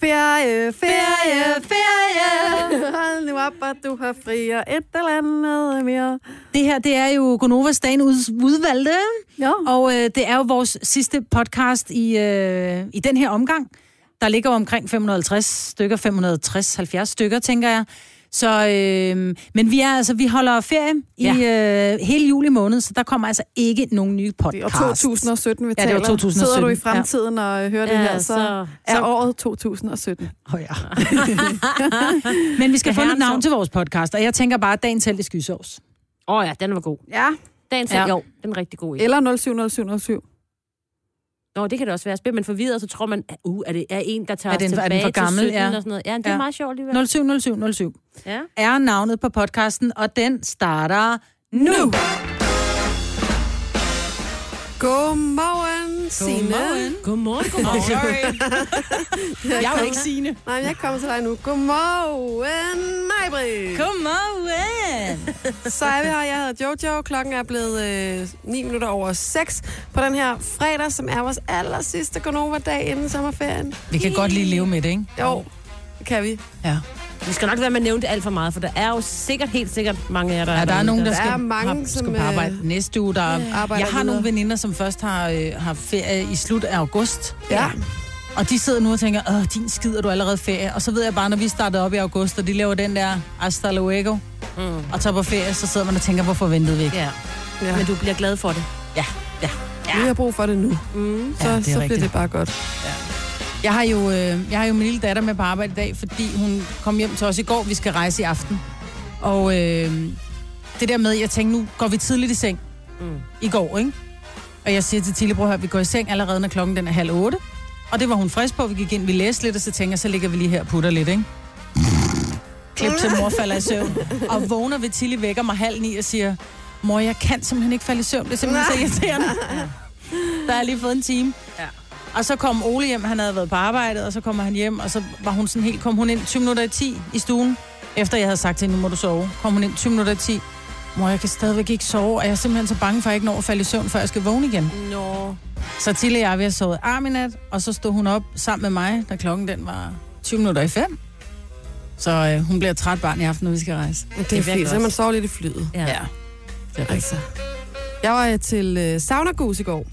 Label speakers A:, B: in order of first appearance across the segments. A: ferie, ferie, ferie. Hold nu op, at du har fri og et eller andet mere.
B: Det her, det er jo Gonovas dagen ud- udvalgte,
A: Ja.
B: og øh, det er jo vores sidste podcast i, øh, i den her omgang. Der ligger jo omkring 550 stykker, 560-70 stykker, tænker jeg. Så, øh, men vi er altså, vi holder ferie i øh, hele juli måned, så der kommer altså ikke nogen nye
A: Det
B: podcast.
A: er år 2017, vi
B: Ja, det er
A: taler.
B: år 2017,
A: Sidder du i
B: ja.
A: fremtiden og øh, hører det her, så er året 2017.
B: Oh, ja. men vi skal
C: Det
B: få
C: er
B: et
C: herrens år.
B: navn til vores podcast, og jeg tænker bare, dagen selv i skysovs.
C: Åh oh, ja, den var god.
A: Ja.
C: Dagen
B: Ja.
C: ja. jo, den er rigtig god. Ja.
A: Eller 070707.
C: Nå, det kan det også være. Bliver man forvirret, så tror man, at, uh, er det er en, der tager
B: Er det en-
C: os
B: er den
C: tilbage
B: for gammel?
C: til 17
B: Ja.
C: ja. og sådan noget. Ja, men det er
B: Ja.
C: ja. meget sjovt alligevel.
B: 070707
C: Ja.
B: er navnet på podcasten, og den starter nu.
A: Godmorgen, Signe.
C: Godmorgen,
D: Oh,
C: godmorgen.
B: Jeg er jo ikke Signe.
A: Nej, men jeg kommer til dig nu. Godmorgen, Majbrit.
B: Godmorgen.
A: Så er vi her. Jeg hedder Jojo. Klokken er blevet øh, 9 minutter over 6 på den her fredag, som er vores aller sidste Gonova-dag inden sommerferien.
B: Vi kan godt lige leve med det, ikke?
A: Jo, det kan vi.
B: Ja.
C: Vi skal nok være med at nævne det alt for meget, for der er jo sikkert, helt sikkert mange af jer, der
B: ja der er nogen, Mm. der,
A: Der
B: skal,
A: er mange,
B: har,
A: som,
B: skal på
A: øh,
B: arbejde næste uge. Der er,
A: arbejder
B: jeg har nogle
A: videre.
B: veninder, som først har, øh, har ferie i slut af august.
A: Ja.
B: Og de sidder nu og tænker, åh, din skider du allerede ferie. Og så ved jeg bare, når vi startede op i august, og de laver den der hasta luego, mm. og tager på ferie, så sidder man og tænker, hvorfor ventede vi ikke?
C: Ja.
A: ja.
C: Men du bliver glad for det.
B: Ja, ja.
A: Vi har brug for det nu. Mm. Så, ja,
B: Ja, det er
A: det så bliver
B: rigtigt.
A: det bare godt.
B: Jeg har, jo, øh, jeg har jo min lille datter med på arbejde i dag, fordi hun kom hjem til os i går. Vi skal rejse i aften. Og øh, det der med, jeg tænkte, nu går vi tidligt i seng. Mm.
C: Mm.
B: I går, ikke? Og jeg siger til Tille, prøv at høre, vi går i seng allerede, når klokken den er halv otte. Og det var hun frisk på. Vi gik ind, vi læste lidt, og så tænker jeg, så ligger vi lige her og putter lidt, ikke? Klip til mor falder i søvn. Og vågner ved Tilly vækker mig halv ni og siger, mor, jeg kan simpelthen ikke falde i søvn. Det er simpelthen så irriterende. Der har jeg lige fået en time. Og så kom Ole hjem, han havde været på arbejde, og så kommer han hjem, og så var hun sådan helt, kom hun ind 20 minutter i 10 i stuen, efter jeg havde sagt til hende, nu må du sove. Kom hun ind 20 minutter i 10, mor, jeg kan stadigvæk ikke sove, og jeg er simpelthen så bange for, at jeg ikke når at falde i søvn, før jeg skal vågne igen.
C: Nå.
B: Så til og jeg, vi har sovet arm i nat, og så stod hun op sammen med mig, da klokken den var 20 minutter i 5. Så øh, hun bliver et træt barn i aften, når vi skal rejse.
A: Det er
C: virker
A: fint. Så kan man
C: også.
A: sover lidt i flyet.
C: Ja. ja.
A: Altså. Jeg var øh, til øh, Sauna Goose i går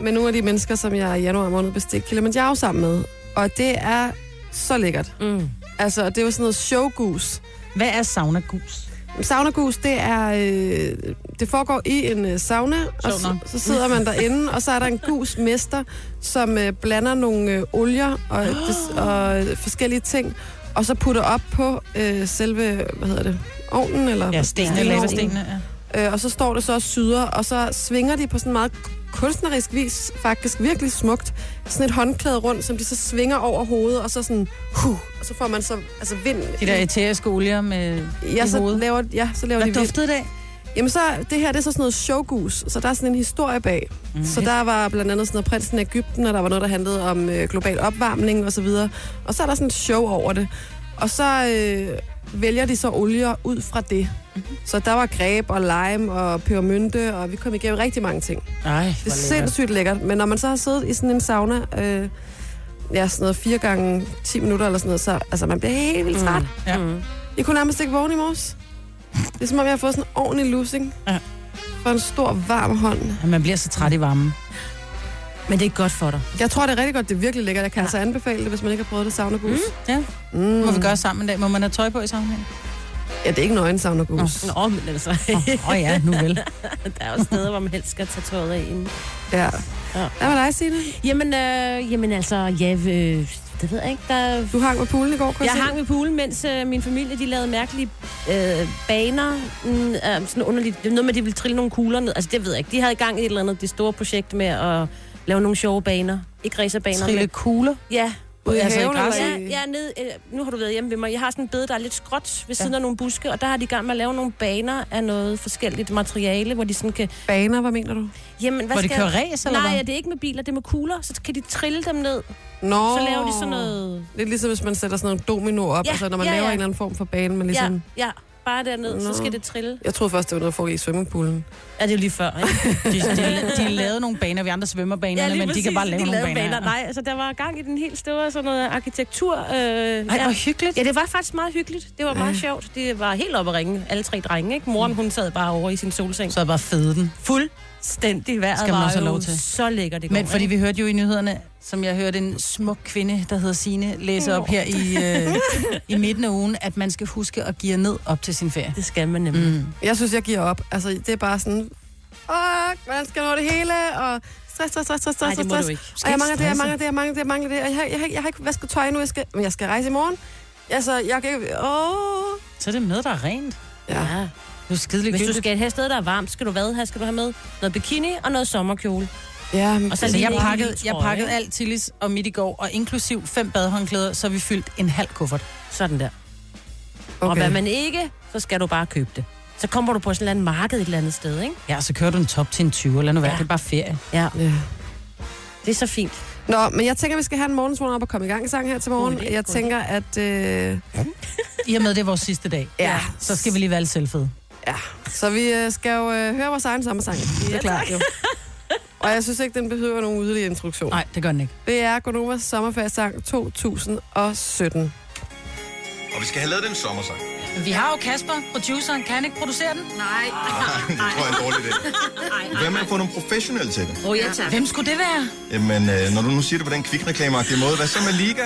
A: med nogle af de mennesker, som jeg i januar måned bestilte Kilimanjaro sammen med. Og det er så lækkert.
C: Mm.
A: Altså, det er jo sådan noget showgus.
B: Hvad er sauna gus?
A: Saunagus, det er... Øh, det foregår i en øh, sauna, og
B: Sjovt
A: så,
B: nok.
A: så sidder man derinde, og så er der en gusmester, som øh, blander nogle øh, olier og, des, og øh, forskellige ting, og så putter op på øh, selve, hvad hedder det, ovnen, eller...
B: Ja, stenene,
A: stenovnen.
B: laserstenene. Ja.
A: Øh, og så står det så og syder, og så svinger de på sådan meget kunstnerisk vis, faktisk virkelig smukt, sådan et håndklæde rundt, som de så svinger over hovedet, og så sådan, huh, og så får man så, altså vind.
B: De der etæriske olier med
A: ja,
B: i
A: så
B: hovedet.
A: laver, ja, så laver
B: Hvad
A: de vind.
B: duftede det af?
A: Jamen så, det her, det er så sådan noget showgus, så der er sådan en historie bag. Mm. Så der var blandt andet sådan noget prinsen af Ægypten, og der var noget, der handlede om øh, global opvarmning og så videre. Og så er der sådan et show over det. Og så øh, vælger de så olier ud fra det. Mm-hmm. Så der var greb og lime og pebermynte, og vi kom igennem rigtig mange ting.
B: Ej,
A: Det er sindssygt lækkert, men når man så har siddet i sådan en sauna, øh, ja, sådan noget 4 gange 10 minutter eller sådan noget, så altså, man bliver helt vildt træt. Mm.
B: Ja.
A: Jeg kunne nærmest ikke vågne i morges. Det er som om, jeg har fået sådan en ordentlig lussing.
B: Ja.
A: For en stor, varm hånd.
B: Ja, man bliver så træt i varmen.
C: Men det er godt for dig.
A: Jeg tror, det er rigtig godt. Det er virkelig lækkert. Jeg kan ja. altså anbefale det, hvis man ikke har prøvet det saunagus. Mm.
B: Ja. Mm. Må vi gøre sammen en dag? Må man have tøj på i sammenhæng?
A: Ja, det er ikke nøgen saunagus.
C: Nå, men altså,
B: Åh oh, ja, nu vel.
C: der er jo steder, hvor man helst skal tage tøjet af inden.
A: Ja.
C: Ja.
A: Hvad med dig, Signe?
C: Jamen, øh, jamen altså, ja, øh, det ved jeg ikke. Der,
A: Du hang med poolen i går, kunne
C: jeg
A: se.
C: hang ved poolen, mens øh, min familie de lavede mærkelige øh, baner. Mm, øh, sådan underligt. Det er noget med, at de ville trille nogle kugler ned. Altså, det ved jeg ikke. De havde i gang i et eller andet det store projekt med at lave nogle sjove baner. Ikke racerbaner.
B: Trille
C: men-
B: kugler.
C: Ja,
A: Ude i
B: Altså, i
A: haven,
B: græsset.
A: eller
C: Ja,
A: i-
C: jeg er nede, øh, nu har du været hjemme ved mig. Jeg har sådan en bed, der er lidt skråt ved siden af nogle buske, og der har de i gang med at lave nogle baner af noget forskelligt materiale, hvor de sådan kan...
A: Baner, hvad mener du?
C: Jamen, hvad
B: Hvor de
C: skal...
B: kører ræs, eller
C: Nej, ja,
B: hvad?
C: det er ikke med biler, det er med kugler. Så kan de trille dem ned,
A: Nå.
C: så laver de sådan noget...
A: Lidt ligesom, hvis man sætter sådan noget domino op,
C: Ja,
A: og så når man
C: ja,
A: laver
C: ja.
A: en eller anden form for bane, men
C: Ja,
A: ligesom...
C: ja. bare derned, så
A: Nå.
C: skal det trille.
A: Jeg troede først, det var noget, der foregik i svømmepoolen.
C: Er det jo lige før, ikke?
B: De, de, de lavede nogle baner, vi andre svømmer banerne, ja, men de kan bare lave
C: de
B: nogle
C: lavede
B: baner.
C: baner. Nej, altså der var gang i den helt store sådan noget arkitektur.
B: Ej,
C: Øh, ja.
B: hvor hyggeligt.
C: ja, det var faktisk meget hyggeligt. Det var meget sjovt. Det var helt oppe at ringe, alle tre drenge, ikke? Moren, hun sad bare over i sin solseng.
B: Så er det bare fede den.
C: Fuldstændig vejret
B: Skal man
C: var
B: også have
C: jo
B: lov til.
C: så lækker det går.
B: Men fordi
C: ikke?
B: vi hørte jo i nyhederne, som jeg hørte en smuk kvinde, der hedder Sine læse op her i, øh, i midten af ugen, at man skal huske at give ned op til sin ferie.
C: Det skal man nemlig. Mm.
B: Mm.
A: Jeg synes, jeg giver op. Altså, det er bare sådan, åh, man skal nå det hele, og stress, stress, stress, stress,
C: Nej,
A: stress,
C: det må
A: stress.
C: du ikke. altså.
A: Og jeg mangler det, jeg mangler det, jeg mangler det, jeg mangler det. Og jeg, har- jeg, har ikke- jeg har ikke vasket tøj nu, jeg skal, men jeg skal rejse i morgen. Altså, jeg kan ikke... Åh.
B: Så er det med, der er rent.
A: Ja.
C: Ja.
B: Det er skidelig
C: Hvis du skal have et sted, der er varmt, skal du hvad have? Skal du have med noget bikini og noget sommerkjole?
A: ja men,
C: Og så
B: Altså,
C: lige
B: jeg
C: en
B: pakkede,
C: lille
B: jeg
C: trøje,
B: pakkede
C: ikke?
B: alt Tillis og midt i går, og inklusiv fem badehåndklæder, så vi fyldt en halv kuffert.
C: Sådan der. Okay. Og
A: okay.
C: hvad man ikke, så skal du bare købe det. Så kommer du på sådan et eller andet marked et eller andet sted, ikke?
B: Ja, så kører du en top til en 20, lad nu være,
C: Ja.
B: det er bare ferie.
C: Ja,
A: Ja.
C: det er så fint.
A: Nå, men jeg tænker, vi skal have en morgensvogn op og komme i gang sang her til morgen.
C: God idé,
A: jeg
C: god
A: tænker, at... Øh,
B: I og med, det er vores sidste dag,
A: ja,
B: så skal vi lige være selvfede.
A: Så vi øh, skal jo øh, høre vores egen sommersang. Det er klart jo. Og jeg synes ikke, den behøver nogen yderligere introduktion.
B: Nej, det gør den ikke.
A: Det er Gonovas sommerfærdssang 2017.
E: Og vi skal have lavet den sommersang. Nej,
B: Vi har jo Kasper, produceren, kan han ikke producere den?
A: Ah,
B: Nej.
E: det tror jeg er en dårlig idé. Hvad med at få nogle professionelle til det?
B: Oh, ja, tak. Hvem skulle det være?
E: Jamen, øh, når du nu siger det på den kvikreklameagtige måde, hvad så med Liga?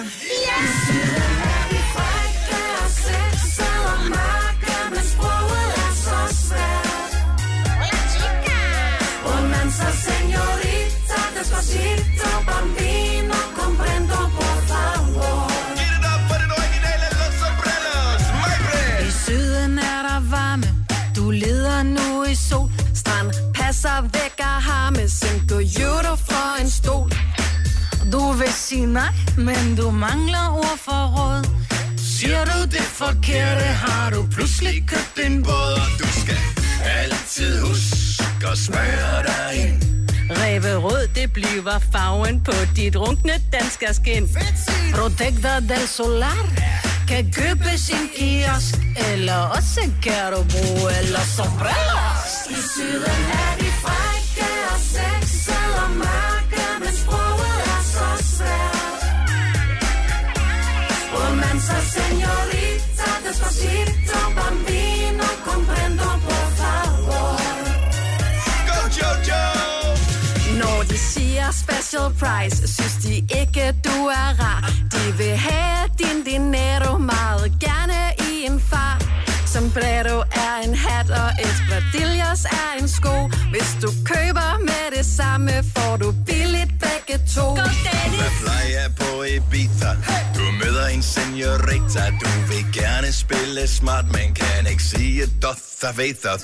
E: Get it up for den originale Los Sopranos. My friend.
D: I syden er der varme, du leder nu i sol. Strand passer væk og har med Cinco Euro for en stol.
B: Du vil sige nej, men du mangler ord for råd.
E: Siger du det forkerte, har du pludselig købt en båd. Og du skal altid huske at smøre dig ind.
D: Ræverød, det bliver farven på dit runkne danske skin. Protector del Solar kan købes i en kiosk, eller også kan du bruge eller sombreros. I syden er de frække og sexede og mørke, men sproget er så svært. Romanza, señorita, despacito, bambino, comprendo, por favor.
E: Go, Jojo!
D: Når de siger special price, synes de ikke, du er rar. De vil have din dinero meget gerne i en far. Sombrero er en hat, og espadrilles er en sko. Hvis du køber med det samme, får du billigt begge to. Go, Danny!
E: Hvad plejer jeg på Ibiza? Du møder en seniorita. Du vil gerne spille smart, men kan ikke sige doth og vethos.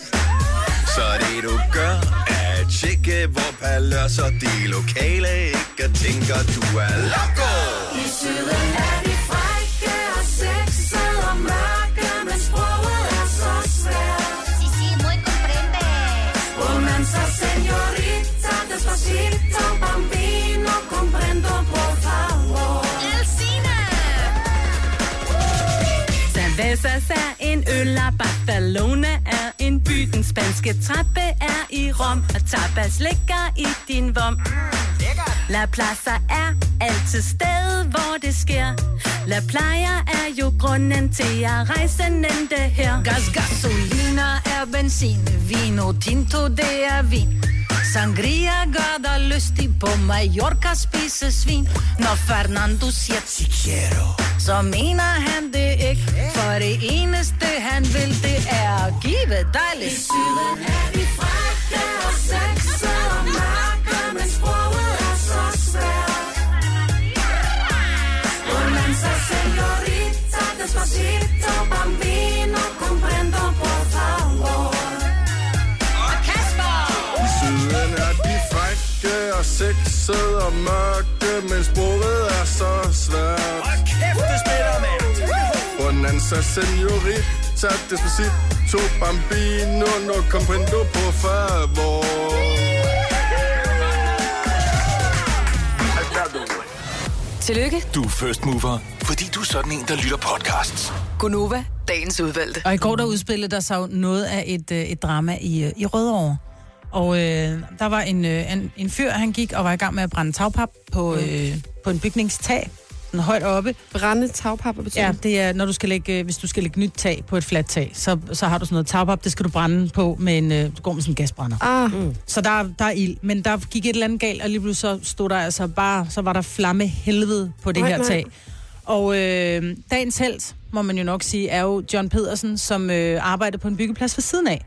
E: Så det du gør, er at tjekke, hvor palørs og de lokale ikke tænker, du er loco.
D: I syden er de frække og sexede og mørke, men sproget er så svært.
F: Sí, sí, muy comprende.
D: Romanza, señorita, despacito, bambino, comprendo, por favor. Cervezas er en øl, og Barcelona er en by. Den spanske trappe er i Rom, og tapas ligger i din vom. La Plaza er altid sted, hvor det sker. La Playa er jo grunden til, at rejsen endte her. Gas, gasolina er benzin. Vino tinto, det er vin. Sangria gør dig lystig på Mallorca spise svin. Når Fernando siger, si quiero, så mener han det ikke. For det eneste, han vil, det er at give dig lidt. Syden er vi frække og sexede og mørke, men sproget er så svært. Romanza, señorita, despacito, bambino, comprendo, por favor. Og Kasper!
G: Siden er de frække og sexede og mørke, men sproget er så svært. Og kæft, det spiller, mand! Bonanza, senorita, despacito, bambino, no comprendo, por favor.
H: Tillykke,
E: Du er first mover, fordi du er sådan en, der lytter podcasts.
H: Gunova, dagens udvalgte.
B: Og i går der udspillede der sig jo noget af et, øh, et drama i, øh, i Rødovre. Og øh, der var en, øh, en, en fyr, han gik og var i gang med at brænde tagpap på, øh, på en bygningstag, sådan højt oppe.
A: Brænde tagpapper betyder
B: Ja,
A: det.
B: det er, når du skal lægge, øh, hvis du skal lægge nyt tag på et fladt tag, så, så har du sådan noget tagpap, det skal du brænde på med en, øh, du går med sådan en gasbrænder.
A: Ah,
B: Så der, er- der er ild, men der gik et eller andet galt, og lige pludselig så stod der altså bare, så var der flamme helvede på det
A: Nej,
B: her
A: nej.
B: tag. Og øh, dagens held, må man jo nok sige, er jo John Pedersen, som øh, arbejder på en byggeplads ved siden af.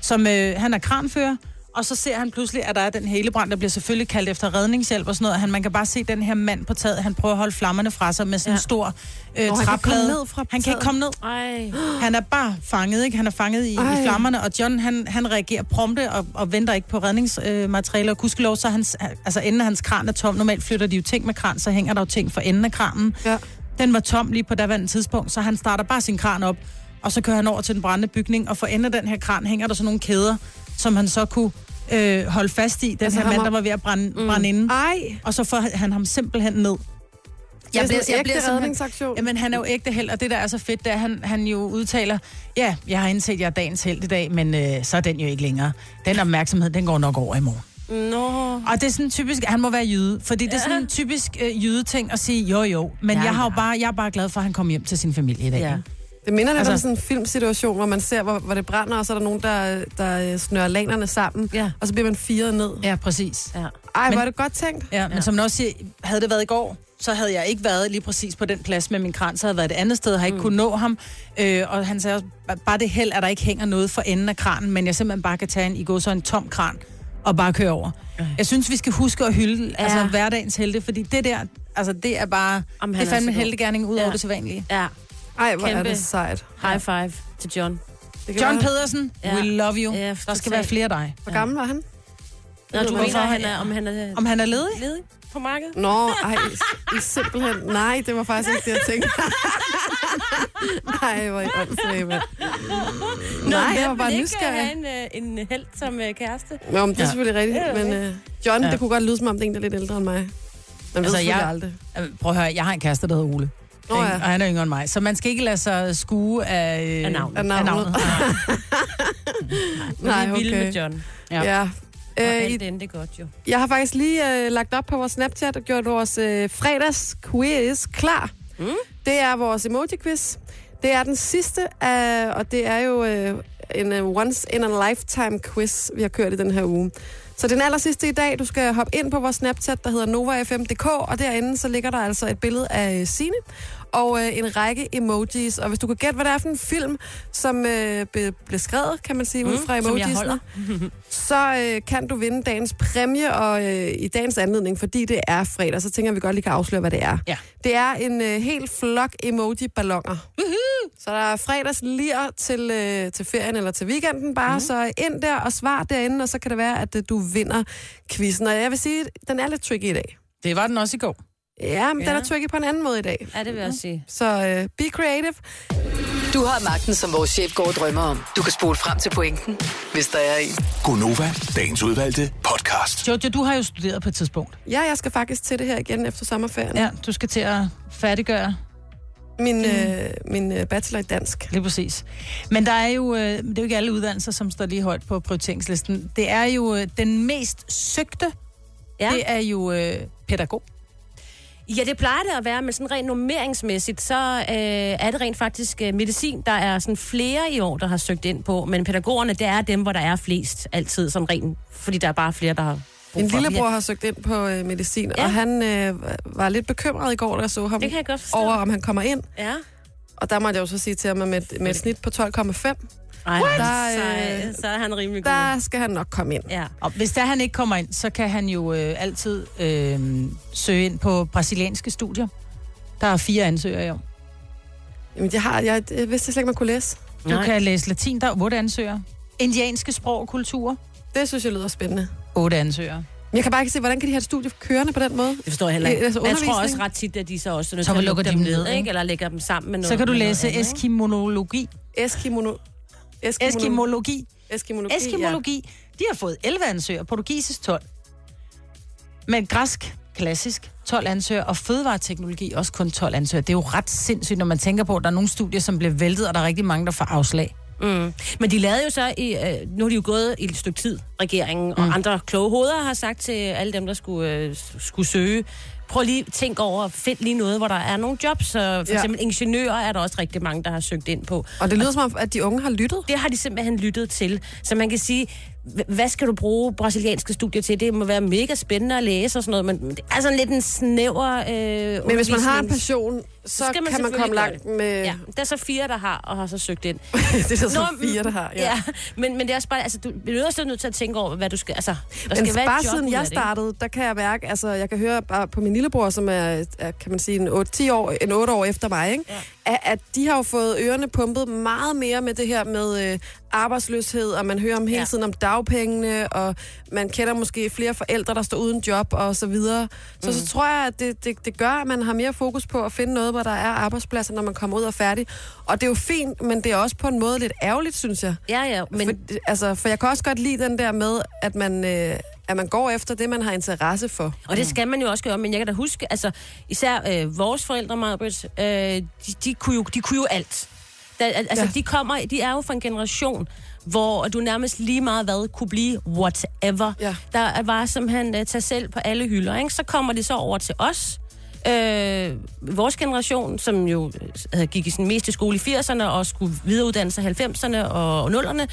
B: Som, øh, han er kranfører, og så ser han pludselig, at der er den helebrand, der bliver selvfølgelig kaldt efter redningshjælp og sådan noget. Han, man kan bare se den her mand på taget, han prøver at holde flammerne fra sig med sådan en
C: Ja.
B: stor øh,
A: kan ikke
B: træplade.
A: komme ned fra
B: han kan ikke
A: taget.
B: komme ned.
C: Ej.
B: Han er bare fanget, ikke? Han er fanget i, i
A: Ej.
B: flammerne, og John, han, han reagerer prompte og, og venter ikke på redningsmaterialer. Øh, Kuskelov, så er hans, altså enden af hans kran er tom. Normalt flytter de jo ting med kran, så hænger der jo ting for enden af kranen.
A: Ja.
B: Den var tom lige på daværende tidspunkt, så han starter bare sin kran op, og så kører han over til den brændende bygning, og for enden af den her kran hænger der sådan nogle kæder, som han så kunne øh, holde fast i, den
A: Altså
B: altså, her
A: ham
B: mand,
A: og-
B: der var ved at brænde, mm. brænde inden.
A: Ej,
B: Og så får han ham simpelthen ned.
A: jeg bliver, jeg bliver
B: simpelthen-
A: redningsaktion.
B: Jamen, han er jo ægte held, og det, der er så fedt, det er, at han, han jo udtaler, ja, jeg har indset, at jeg er dagens held i dag, men øh, så er den jo ikke længere. Den opmærksomhed, den går nok over i morgen.
C: Nå.
B: Og det er sådan typisk, han må være jyde, fordi det er sådan en typisk øh, jyde-ting at sige, jo jo, men
C: Ja,
B: jeg, har jo
C: ja.
B: bare, jeg er bare glad for, at han kom hjem til sin familie i dag.
C: Ja.
B: Ja.
A: Det minder lidt altså, om
B: Altså-
A: sådan en filmsituation, hvor man ser, hvor, hvor det brænder, og så er der nogen, der, der øh, snører lanerne sammen,
C: Ja.
A: og så bliver man firet ned.
B: ja, præcis.
C: Ja.
A: Ej,
B: Men-
A: hvor er det godt tænkt.
B: Ja, men ja. som man også siger, havde det været i går, så havde jeg ikke været lige præcis på den plads med min kran, så havde jeg været et andet sted, har ikke mm. kunnet nå ham. Øh, og han sagde også, "Ba- bare det held, at der ikke hænger noget for enden af kranen, men jeg simpelthen bare kan tage en, i går så en tom kran og bare køre over. Jeg synes, vi skal huske at hylde ja. altså, hverdagens helte, fordi det der, altså det er bare,
C: Jamen,
B: Jamen,
C: han
B: det er
C: er
B: fandme
C: så
B: en
C: god.
B: heltegærning ud
C: Ja.
B: over det sædvanlige.
C: ja.
A: Ej, hvor er
C: Kæmpe.
A: det sejt.
C: High five til John.
A: Det kan
B: John
A: være-
B: Pedersen,
C: Ja.
B: ja. we love you.
C: Ja,
B: Ja, der skal
C: totalt.
B: være flere af dig.
A: Hvor gammel var han?
C: Nå, du
A: Hvorfor
C: mener, han
B: er-
C: er, om han er,
B: Om han er ledig?
C: ledig på markedet?
A: Nå, ej, I simpelthen. Nej, det var faktisk ikke det, jeg tænkte. Nej, hvor er I åndssvage, mand. Nej, jeg var bare nysgerrig.
C: Hvem vil ikke øh, have en, øh, en held som uh, kæreste?
A: Nå, men det er
B: Ja.
A: selvfølgelig rigtigt, men øh, John, det kunne godt lyde som om, det er en, der er lidt ældre end mig. Man ved
B: Altså,
A: selvfølgelig
B: jeg-
A: aldrig.
B: Øh, Prøv at høre, jeg har en kæreste, der hedder Ole.
A: Nå
B: Ikke?
A: ja.
B: Og han er yngre end mig. Så man skal ikke lade sig skue af, øh,
C: Af navnet.
A: Af navnet.
C: Nej,
A: Nej,
C: Vi er vilde med
A: okay.
C: John.
B: Ja.
A: Ja.
C: Og
A: Øh,
C: alt
A: I,
C: endte godt jo.
A: jeg har faktisk lige øh, lagt op på vores Snapchat og gjort vores øh, fredags-quiz klar. Mm. Det er vores emoji-quiz. Det er den sidste, af, og det er jo øh, en uh, once-in-a-lifetime-quiz, vi har kørt i den her uge. Så den aller sidste i dag, du skal hoppe ind på vores Snapchat, der hedder NovaFM.dk, og derinde så ligger der altså et billede af Sine og øh, en række emojis. Og hvis du kan gætte, hvad det er for en film, som øh, be, blev skrevet, kan man sige, mm, ud fra
C: som jeg holder.
A: emojisene, så øh, kan du vinde dagens præmie og øh, i dagens anledning, fordi det er fredag, så tænker jeg, vi godt lige kan afsløre, hvad det er.
B: Ja.
A: Det er en øh, hel flok emoji-ballonger. Så der er fredags lir til, øh, til ferien eller til weekenden bare,
B: Mhm.
A: mm. så ind der og svar derinde, og så kan det være, at øh, du vinder quizzen. Og jeg vil sige, den er lidt tricky i dag.
B: Det var den også i går.
A: Ja, men ja. den
C: Ja.
A: er tricky på en anden måde i dag.
C: Ja, det vil jeg også sige.
A: Så øh, be creative.
H: Du har magten, som vores chef går og drømmer om. Du kan spole frem til pointen, hvis der er en.
E: Gonova, dagens udvalgte podcast.
B: Jojo, du har jo studeret på et tidspunkt.
A: Ja, jeg skal faktisk til det her igen efter sommerferien. Ja.
B: Ja, du skal til at færdiggøre
A: Min, øh, min øh, bachelor i dansk.
B: Lige præcis. Men der er jo, øh, det er jo ikke alle uddannelser, som står lige højt på prioriteringslisten. Det er jo øh, den mest søgte,
C: Ja.
B: ja. det er jo øh, pædagog.
C: Ja, det plejer det at være, men sådan rent normeringsmæssigt, så øh, er det rent faktisk øh, medicin, der er sådan flere i år, der har søgt ind på. Men pædagogerne, det er dem, hvor der er flest altid, sådan rent, fordi der er bare flere, der har brug
A: Min
C: for dem.
A: lillebror har søgt ind på øh, medicin,
C: Ja.
A: ja. og han øh, var lidt bekymret i går, da jeg så ham,
C: Det kan jeg godt forstå.
A: over om han kommer ind.
C: Ja.
A: Og der måtte jeg jo så sige til ham, at med, et- med et snit på 12,5,
C: Ej,
A: Der,
C: så,
A: øh,
C: øh, så er han rimelig god.
A: der skal han nok komme ind.
C: Ja.
B: Og hvis der han ikke kommer ind, så kan han jo øh, altid øh, søge ind på brasilianske studier. Der er fire ansøgere i år.
A: Jamen, jeg, har, jeg, jeg vidste slet ikke, man kunne læse.
B: Du
C: Nej.
B: Nej. kan læse latin, der er otte ansøgere. Indianske sprog og kulturer,
A: Det synes jeg lyder spændende.
B: otte ansøgere.
A: Men jeg kan bare ikke se, hvordan kan de have et studie kørende på den måde?
C: Det forstår jeg heller ikke.
A: Det er altså
C: Men jeg tror også
A: undervisning.
C: ret tit, at de så også er nødt
B: Så
C: til at
B: lukker
C: lukke dem
B: de dem
C: ned,
B: ned, ikke?
C: ikke? eller lægger dem sammen med noget.
B: Så kan du
C: med noget
B: læse
C: andet, ikke?
B: eskimonologi.
A: Eskimono... Eskimono...
B: Eskimologi.
A: Eskimologi,
B: Eskimologi, ja. de har fået 11 ansøgere, portugisisk 12. Men græsk, klassisk, 12 ansøgere, og fødevareteknologi også kun 12 ansøgere. Det er jo ret sindssygt, når man tænker på, at der er nogle studier, som bliver væltet, og der er rigtig mange, der får afslag.
C: Mm. Men de lavede jo så, i, øh, nu er de jo gået i et stykke tid, regeringen mm. og andre kloge hoveder har sagt til alle dem, der skulle, øh, skulle søge, prøv lige tænk over, find lige noget, hvor der er nogle jobs. Så for
A: Ja.
C: ja. eksempel ingeniører er der også rigtig mange, der har søgt ind på.
A: Og det lyder som om, at de unge har lyttet.
C: Det har de simpelthen lyttet til. Så man kan sige, h- hvad skal du bruge brasilianske studier til? Det må være mega spændende at læse og sådan noget, men men det er sådan lidt en snæver øh,
A: Men hvis man har en
C: undervisnings-
A: passion, så
C: skal man
A: kan man
C: selvfølgelig
A: komme
C: gøre
A: langt med...
C: Ja, der er så fire, der har, og har så søgt ind.
A: det er der så
C: Nå, men-
A: fire, der har.
C: Ja,
A: Ja.
C: ja men, men det er også bare, altså, du bliver også nødt til at tænke over, hvad du skal, altså, der
A: Men
C: skal være
A: bare
C: et job
A: siden
C: ud af
A: jeg
C: det, ikke?
A: startede, der kan jeg mærke, altså jeg kan høre bare på min lillebror, som er, er kan man sige, en 8-10 år, en 8 år efter mig, ikke? Ja. At, at de har jo fået ørerne pumpet meget mere med det her med øh, arbejdsløshed, og man hører om hele ja.
C: Ja.
A: tiden om dagpengene, og man kender måske flere forældre, der står uden job og så videre. Så mm. så tror jeg, at det, det, det gør, at man har mere fokus på at finde noget, hvor der er arbejdspladser, når man kommer ud og er færdig. Og det er jo fint, men det er også på en måde lidt ærgerligt, synes jeg.
C: Ja, ja, men...
A: Men... For, altså, for jeg kan også godt lide den der med, at man, øh, at man går efter det, man har interesse for.
C: Og det skal man jo også gøre, men jeg kan da huske, altså især øh, vores forældre, Marbet, øh, de, de, kunne jo, de kunne jo alt. Da, al- altså,
A: Ja.
C: ja. de, kommer, de er jo fra en generation, hvor du nærmest lige meget hvad kunne blive whatever.
A: Ja.
C: Der var simpelthen øh, tag selv på alle hylder. Ikke? Så kommer de så over til os, øh, vores generation, som jo øh, gik i sin mest i skole i 80'erne og skulle videreuddanne sig i 90'erne og, og 0'erne.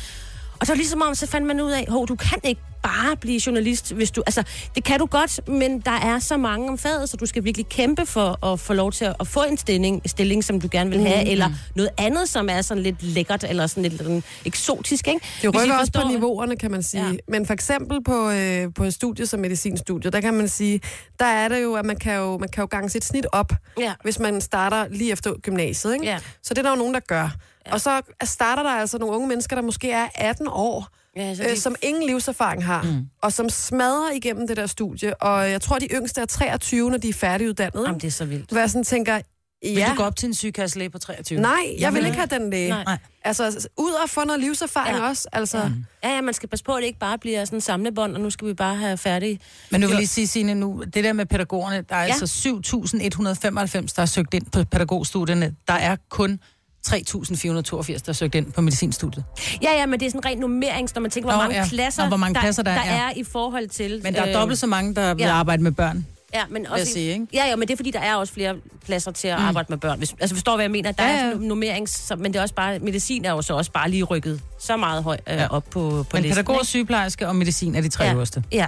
C: Og så ligesom om, så fandt man ud af, at du kan ikke bare blive journalist, hvis du... Altså, det kan du godt, men der er så mange om faget, så du skal virkelig kæmpe for at få lov til at, at få en stilling, stilling, som du gerne vil have,
A: Mhm.
C: mm. eller noget andet, som er sådan lidt lækkert, eller sådan lidt sådan eksotisk, ikke? Hvis
A: Det
C: I
A: rykker også på
C: forstår-
A: niveauerne, kan man sige. Ja.
C: Ja.
A: Men for eksempel på, øh, på et studie som medicinstudiet, der kan man sige, der er det jo, at man kan jo, man kan jo gange sit snit op,
C: Ja.
A: hvis man starter lige efter gymnasiet. Ikke?
C: Ja.
A: Så det er der jo nogen, der gør. Ja. Og så starter der altså nogle unge mennesker, der måske er 18 år,
C: Ja, så
A: øh,
C: de-
A: som ingen livserfaring har, mm. og som smadrer igennem det der studie. Og jeg tror, de yngste er 23, når de er færdiguddannet.
C: Jamen, det er så vildt.
A: Hvor jeg sådan tænker, ja.
B: Vil ja. du gå op til en sygekasselæge på 23?
A: Nej, jeg vil ikke have den læge.
C: Nej.
B: Nej.
A: Altså, ud og få noget livserfaring ja.
C: Ja.
A: også. Altså, ja.
C: Ja, ja, man skal passe på, at det ikke bare bliver sådan en samlebånd, og nu skal vi bare have færdig.
B: Men nu vil jeg lige sige, Signe, nu, det der med pædagogerne, der er ja.
C: Ja.
B: altså 7.195, der har søgt ind på pædagogstudierne. Der er kun 3.482, der har søgt ind på medicinstudiet.
C: Ja, ja, men det er sådan rent nummerings, når man tænker, hvor
B: Nå,
C: mange
B: ja.
C: klasser,
B: Og hvor mange klasser der
C: der
B: er.
C: er i forhold til...
B: Men der
A: Øh.
B: er dobbelt så mange, der vil
C: ja.
B: arbejde med børn.
C: Ja, men også,
B: jeg sige, ikke?
C: Ja, ja, men det er fordi, der er også flere pladser til at mm. arbejde med børn. Hvis, altså forstår, hvad jeg mener? Der ja,
B: Ja,
C: ja.
B: ja.
C: er sådan nummering, så, men det er også bare, medicin er jo så også bare lige rykket så meget højt øh, op på, på
B: Men
C: listen.
B: pædagog,
C: ikke?
B: sygeplejerske og medicin er de tre
C: ja.
B: øverste.
C: Ja.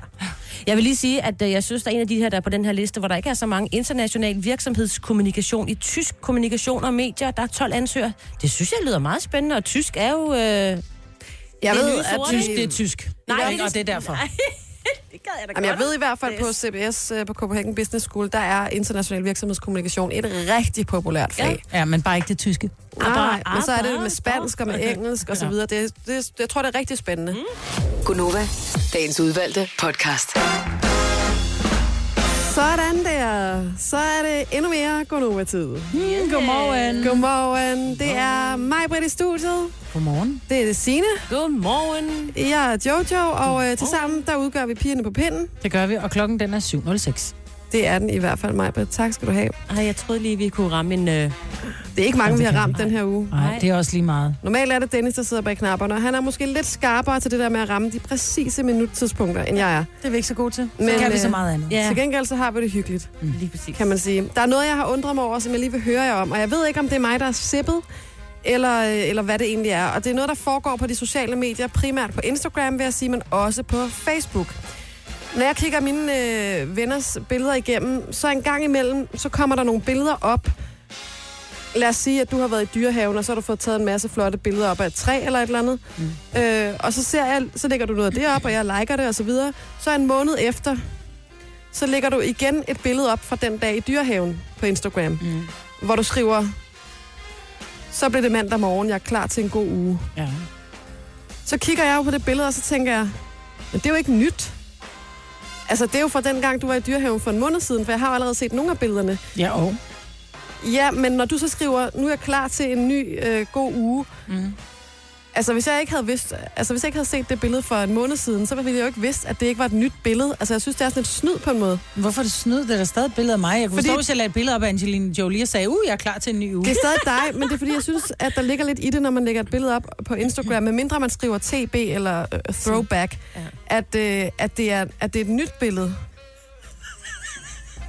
C: Jeg vil lige sige, at øh, jeg synes, der er en af de her, der er på den her liste, hvor der ikke er så mange international virksomhedskommunikation. I tysk kommunikation og medier, der er 12 ansøgere. Det synes jeg lyder meget spændende, og tysk er jo... Øh... Nej,
A: Jeg
C: Det er
A: ved,
C: nye
A: at
C: sorte.
B: Tysk,
A: de,
B: det er tysk. Nej, det er, og det er derfor.
C: Nej, det gad jeg da
A: Jamen, jeg
C: godt.
A: ved i hvert fald på CBS, øh, på Copenhagen Business School, der er international virksomhedskommunikation et rigtig populært fag. Ah.
B: Ja, men bare ikke det tyske.
A: Ja. Nej, men så er det med
C: arbejde.
A: spansk og med engelsk og så videre. Det, det, jeg tror, det er rigtig spændende. Mm.
H: Gunova, dagens udvalgte podcast.
A: Sådan der. Så er det endnu mere Gonova-tid.
B: Yeah. Godmorgen.
A: Godmorgen. Det er mig, Britt, i studiet.
B: Godmorgen.
A: Det er det Signe.
C: Godmorgen.
A: Jeg er Jojo, og øh, tilsammen der udgør vi pigerne på pinden.
B: Det gør vi, og klokken den er 7.06.
A: Det er den i hvert fald, mig, Tak skal du have.
C: Ej, jeg troede lige, vi kunne ramme en... Øh...
A: Det er ikke mange, vi har
B: kan
A: ramt den her uge.
B: Nej,
C: Nej.
B: det er også lige meget.
A: Normalt er det Dennis, der sidder bag knapperne, og han er måske lidt skarpere til det der med at ramme de præcise minuttidspunkter, end jeg er.
B: Det er vi ikke så gode til. Så
A: Men,
B: Men, kan vi så
A: øh,
B: meget andet. Mm.
A: Ja.
C: Ja.
A: Til gengæld så har vi det hyggeligt,
C: Lige præcis.
A: kan man sige. Der er noget, jeg har undret mig over, som jeg lige vil høre jer om, og jeg ved ikke, om det er mig, der er sippet, eller, øh, eller hvad det egentlig er. Og det er noget, der foregår på de sociale medier, primært på Instagram, vil jeg sige, men også på Facebook. Når jeg kigger mine øh, venners billeder igennem, så en gang imellem, så kommer der nogle billeder op. Lad os sige, at du har været i dyrehaven, og så har du fået taget en masse flotte billeder op af et træ eller et eller andet. Mm. Øh, og så, ser jeg, så lægger du noget af det op, og jeg liker det og Så, videre. så en måned efter, så lægger du igen et billede op fra den dag i dyrehaven på Instagram, mm. hvor du skriver, så blev det mandag morgen, jeg er klar til en god uge.
B: Ja.
A: Så kigger jeg jo på det billede, og så tænker jeg, men det er jo ikke nyt. Altså, det er jo fra den gang, du var i dyrehaven for en måned siden, for jeg har jo allerede set nogle af billederne.
B: ja, og Mhm.
A: Ja, men når du så skriver, nu er jeg klar til en ny øh, god uge, mm. Altså, hvis jeg ikke havde vidst, altså, hvis jeg ikke havde set det billede for en måned siden, så ville jeg jo ikke vidst, at det ikke var et nyt billede. Altså, jeg synes, det er sådan et snyd på en måde.
B: Hvorfor er det snyd? Det er da stadig et billede af mig. Jeg kunne
A: Fordi-
B: Fordi... forstå, hvis jeg lagde et billede op af Angelina Jolie og sagde, uh, jeg er klar til en ny uge.
A: Det er stadig dig, men det er fordi, jeg synes, at der ligger lidt i det, når man lægger et billede op på
B: Mhm.
A: Instagram, medmindre man skriver TB eller øh, throwback,
C: Ja.
A: at, øh, at, det er, at det er et nyt billede.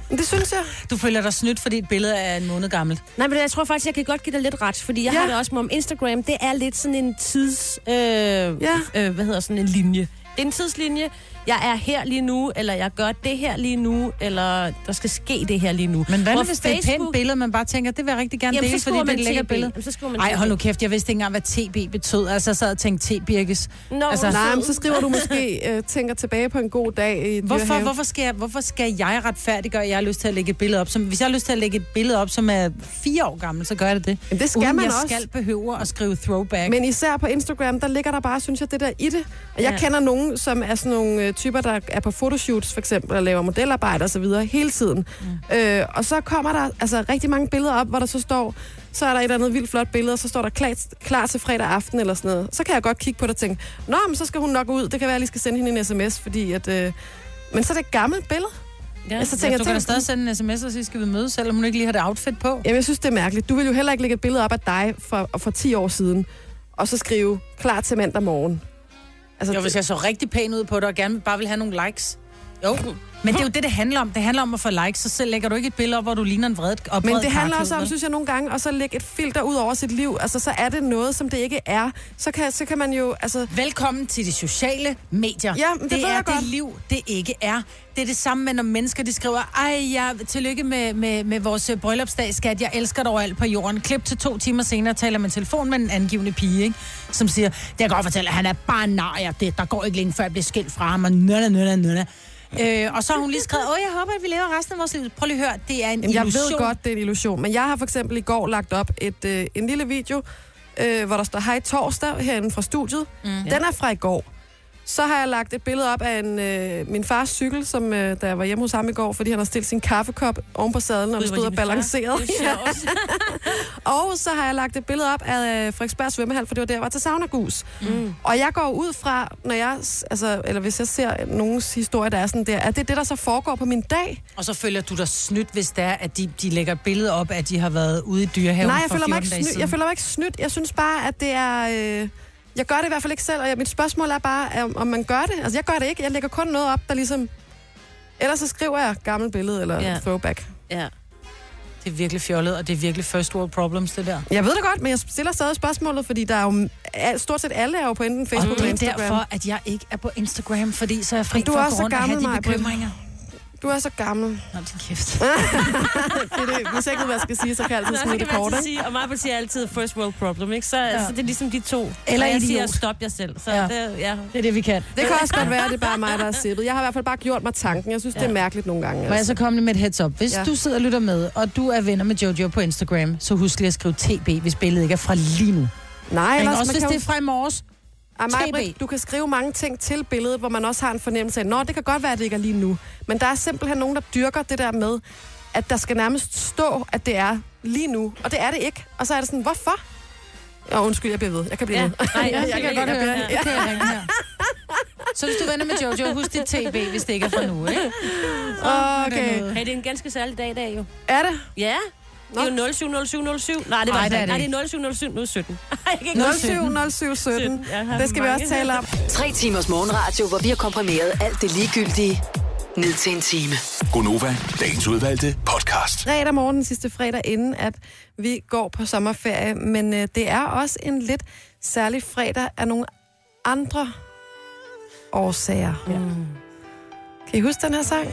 A: Men Det synes jeg.
B: Du føler dig snydt, fordi et billede er en måned gammelt.
C: Nej, men jeg tror faktisk, jeg kan godt give dig lidt ret, fordi jeg
A: Ja.
C: ja. har det også med om Instagram, det er lidt sådan en tids... Øh, ja. øh, hvad hedder sådan en linje. Det er en tidslinje. Jeg er her lige nu, eller jeg gør det her lige nu, eller der skal ske det her lige nu.
B: Men hvad nu,
C: Hvor
B: hvis det er et pænt billede, man bare tænker, det vil jeg rigtig gerne
C: Jamen,
B: dele,
C: så
B: fordi
C: skriver
B: det er
C: man
B: et lækkert
C: TB.
B: billede.
C: Jamen, så skriver man
B: Ej, hold nu
C: TB.
B: kæft, jeg vidste ikke engang, hvad TB betød. Altså, jeg sad og tænkte T-birkes.
C: Nå,
B: Altså,
C: altså,
A: Nej, men så skriver du måske, øh, tænker tilbage på en god dag i
B: Hvorfor,
A: Dyrehave.
B: hvorfor, skal jeg, hvorfor skal jeg retfærdiggøre, at jeg har lyst til at lægge et billede op? Som, hvis jeg har lyst til at lægge et billede op, som er fire år gammel, så gør jeg det.
A: Jamen, det skal
B: Uden
A: man
B: jeg
A: også.
B: skal behøver at skrive throwback. Men...
A: Men især på Instagram, der ligger der bare, synes jeg, det der i det. Og jeg
C: Ja.
A: kender nogen, som er sådan nogle øh, typer, der er på fotoshoots for eksempel, og laver modelarbejde og så videre hele tiden. Øh, og så kommer der altså rigtig mange billeder op, hvor der så står, så er der et eller andet vildt flot billede, og så står der klar, klar til fredag aften eller sådan noget. Så kan jeg godt kigge på det og tænke, nå, men så skal hun nok ud. Det kan være, jeg lige skal sende hende en sms, fordi at... Øh, men så er det et gammelt billede.
C: ja.
A: Altså,
B: Ja,
A: tænker,
B: du kan da stadig sende en sms og sige, skal vi mødes, selvom hun ikke lige har det outfit på.
A: Jamen, jeg synes, det er mærkeligt. Du vil jo heller ikke lægge et billede op af dig for, for 10 år siden, og så skrive, klar til mandag morgen. Altså,
B: Jo, hvis jeg så rigtig pæn ud på det, og gerne bare vil have nogle likes. Jo, men det er jo det, det handler om. Det handler om at få likes, så selv lægger du ikke et billede op, hvor du ligner en vredet op.
A: Men det handler også om, synes jeg nogle gange, at så lægge et filter ud over sit liv. Altså, så er det noget, som det ikke er. Så kan, så kan man jo, altså...
B: Velkommen til de sociale medier.
A: Ja, men det
B: det
A: ved
B: er
A: jeg
B: det
A: godt.
B: liv, det ikke er. Det er det samme med, når mennesker de skriver, ej, ja, tillykke med, med, med vores øh, bryllupsdag, skat, jeg elsker dig overalt på jorden. Klip til to timer senere taler man i telefon med en angivende pige, ikke? som siger, det kan jeg godt fortælle, han er bare en nar, jeg- det, der går ikke længe, før jeg bliver skilt fra ham, og nødda, nødda, nødda. Øh, og så har hun lige skrevet, åh, jeg håber, at vi lever resten af vores liv. Prøv lige at høre, det er en
A: Jamen, jeg
B: illusion.
A: ved godt, det er en illusion, men jeg har for eksempel i går lagt op et, øh, en lille video, øh, hvor der står, hej torsdag herinde fra studiet. Mm. Den er fra i går. Så har jeg lagt et billede op af en, øh, min fars cykel, som øh, da jeg var hjemme hos ham i går, fordi han har stillet sin kaffekop oven på sadlen, og den
C: Gud, hvor
A: stod og
C: din far.
A: balancerede.
C: Det er sjovt.
A: Og så har jeg lagt et billede op af øh, Frederiksberg svømmehal, for det var der, jeg var til saunagus. Mm. Og jeg går ud fra, når jeg, s- altså, eller hvis jeg ser nogens historie, der er sådan der, at det er det, der så foregår på min dag.
B: Og så føler du dig snydt, hvis det er, at de, de lægger et billede op, at de har været ude i dyrehaven
A: Nej, jeg
B: for
A: føler, mig
B: 14
A: ikke
B: dage
A: snydt.
B: siden.
A: jeg føler mig ikke snydt. Jeg synes bare, at det er... Øh, jeg gør det i hvert fald ikke selv, og jeg, mit spørgsmål er bare, er, om- om man gør det. Altså, jeg gør det ikke. Jeg lægger kun noget op, der ligesom... Ellers så skriver jeg gammelt billede eller
C: Ja.
A: yeah. throwback.
C: ja.
B: Det er virkelig fjollet, og det er virkelig first world problems, det der.
A: Jeg ved det godt, men jeg stiller stadig spørgsmålet, fordi der er jo... al- Stort set alle er jo på enten Facebook
B: og
A: eller
B: det er
A: Instagram.
B: derfor, at jeg ikke er på Instagram, fordi så er jeg fri
A: Du er
B: for at
A: også
B: gå rundt og have
A: gammel,
B: de
A: Maj-Brit.
B: bekymringer.
A: Du er så gammel.
B: Nå, din kæft.
A: det er det. Hvis jeg ikke ved, hvad jeg skal sige, så kan jeg altid
C: Nå,
A: smide
C: så kan
A: det
C: man
A: kort,
C: altid
A: ikke?
C: sige, og mig siger altid first world problem, ikke? Så, ja. så det er ligesom de to.
B: Eller
C: og jeg
B: idiot.
C: siger, stop jer selv. Så
B: Ja.
C: ja. det, ja.
B: Det er det, vi kan.
A: Det kan også godt være, at det er bare mig, der er sippet. Jeg har i hvert fald bare gjort mig tanken. Jeg synes, ja. det er mærkeligt nogle gange.
B: Må jeg
A: Altså.
B: så komme med et heads up? Hvis
A: Ja.
B: ja. du sidder og lytter med, og du er venner med Jojo på Instagram, så husk lige at skrive TB, hvis billedet ikke er fra lige nu.
A: Nej,
B: Men
A: Lars,
B: også
A: man
B: hvis
A: kan
B: det
A: jo-
B: er fra i morges.
A: Ah, Maj-Brit,
B: 3B.
A: du kan skrive mange ting til billedet, hvor man også har en fornemmelse af, nå, det kan godt være, at det ikke er lige nu. Men der er simpelthen nogen, der dyrker det der med, at der skal nærmest stå, at det er lige nu. Og det er det ikke. Og så er det sådan, hvorfor? Ja, undskyld, jeg bliver ved. Jeg kan blive
C: Ja.
A: ved.
C: Nej, jeg kan godt høre.
A: bliver-
C: Ja.
B: Det kan jeg ringe her. Så hvis du er venner med Jojo, husk dit TB, hvis det ikke er fra nu, ikke?
A: Okay.
C: Hey, det er en ganske særlig dag i dag, jo.
A: Er det?
C: Ja. Det er jo 070707. Nej, det var altså
B: Ej,
C: Ej,
B: det er
C: det
B: det
C: Nej, det er 0707 nu er 17. Ej, jeg kan ikke
A: 07 17.
C: Jeg har
A: Det skal vi
C: mange.
A: også tale om.
H: Tre timers morgenradio, hvor vi har komprimeret alt det ligegyldige ned til en time.
E: Gonova, dagens udvalgte podcast.
A: fredag morgen, den sidste fredag, inden at vi går på sommerferie. Men øh, det er også en lidt særlig fredag af nogle andre årsager. Ja. Kan I huske den her sang?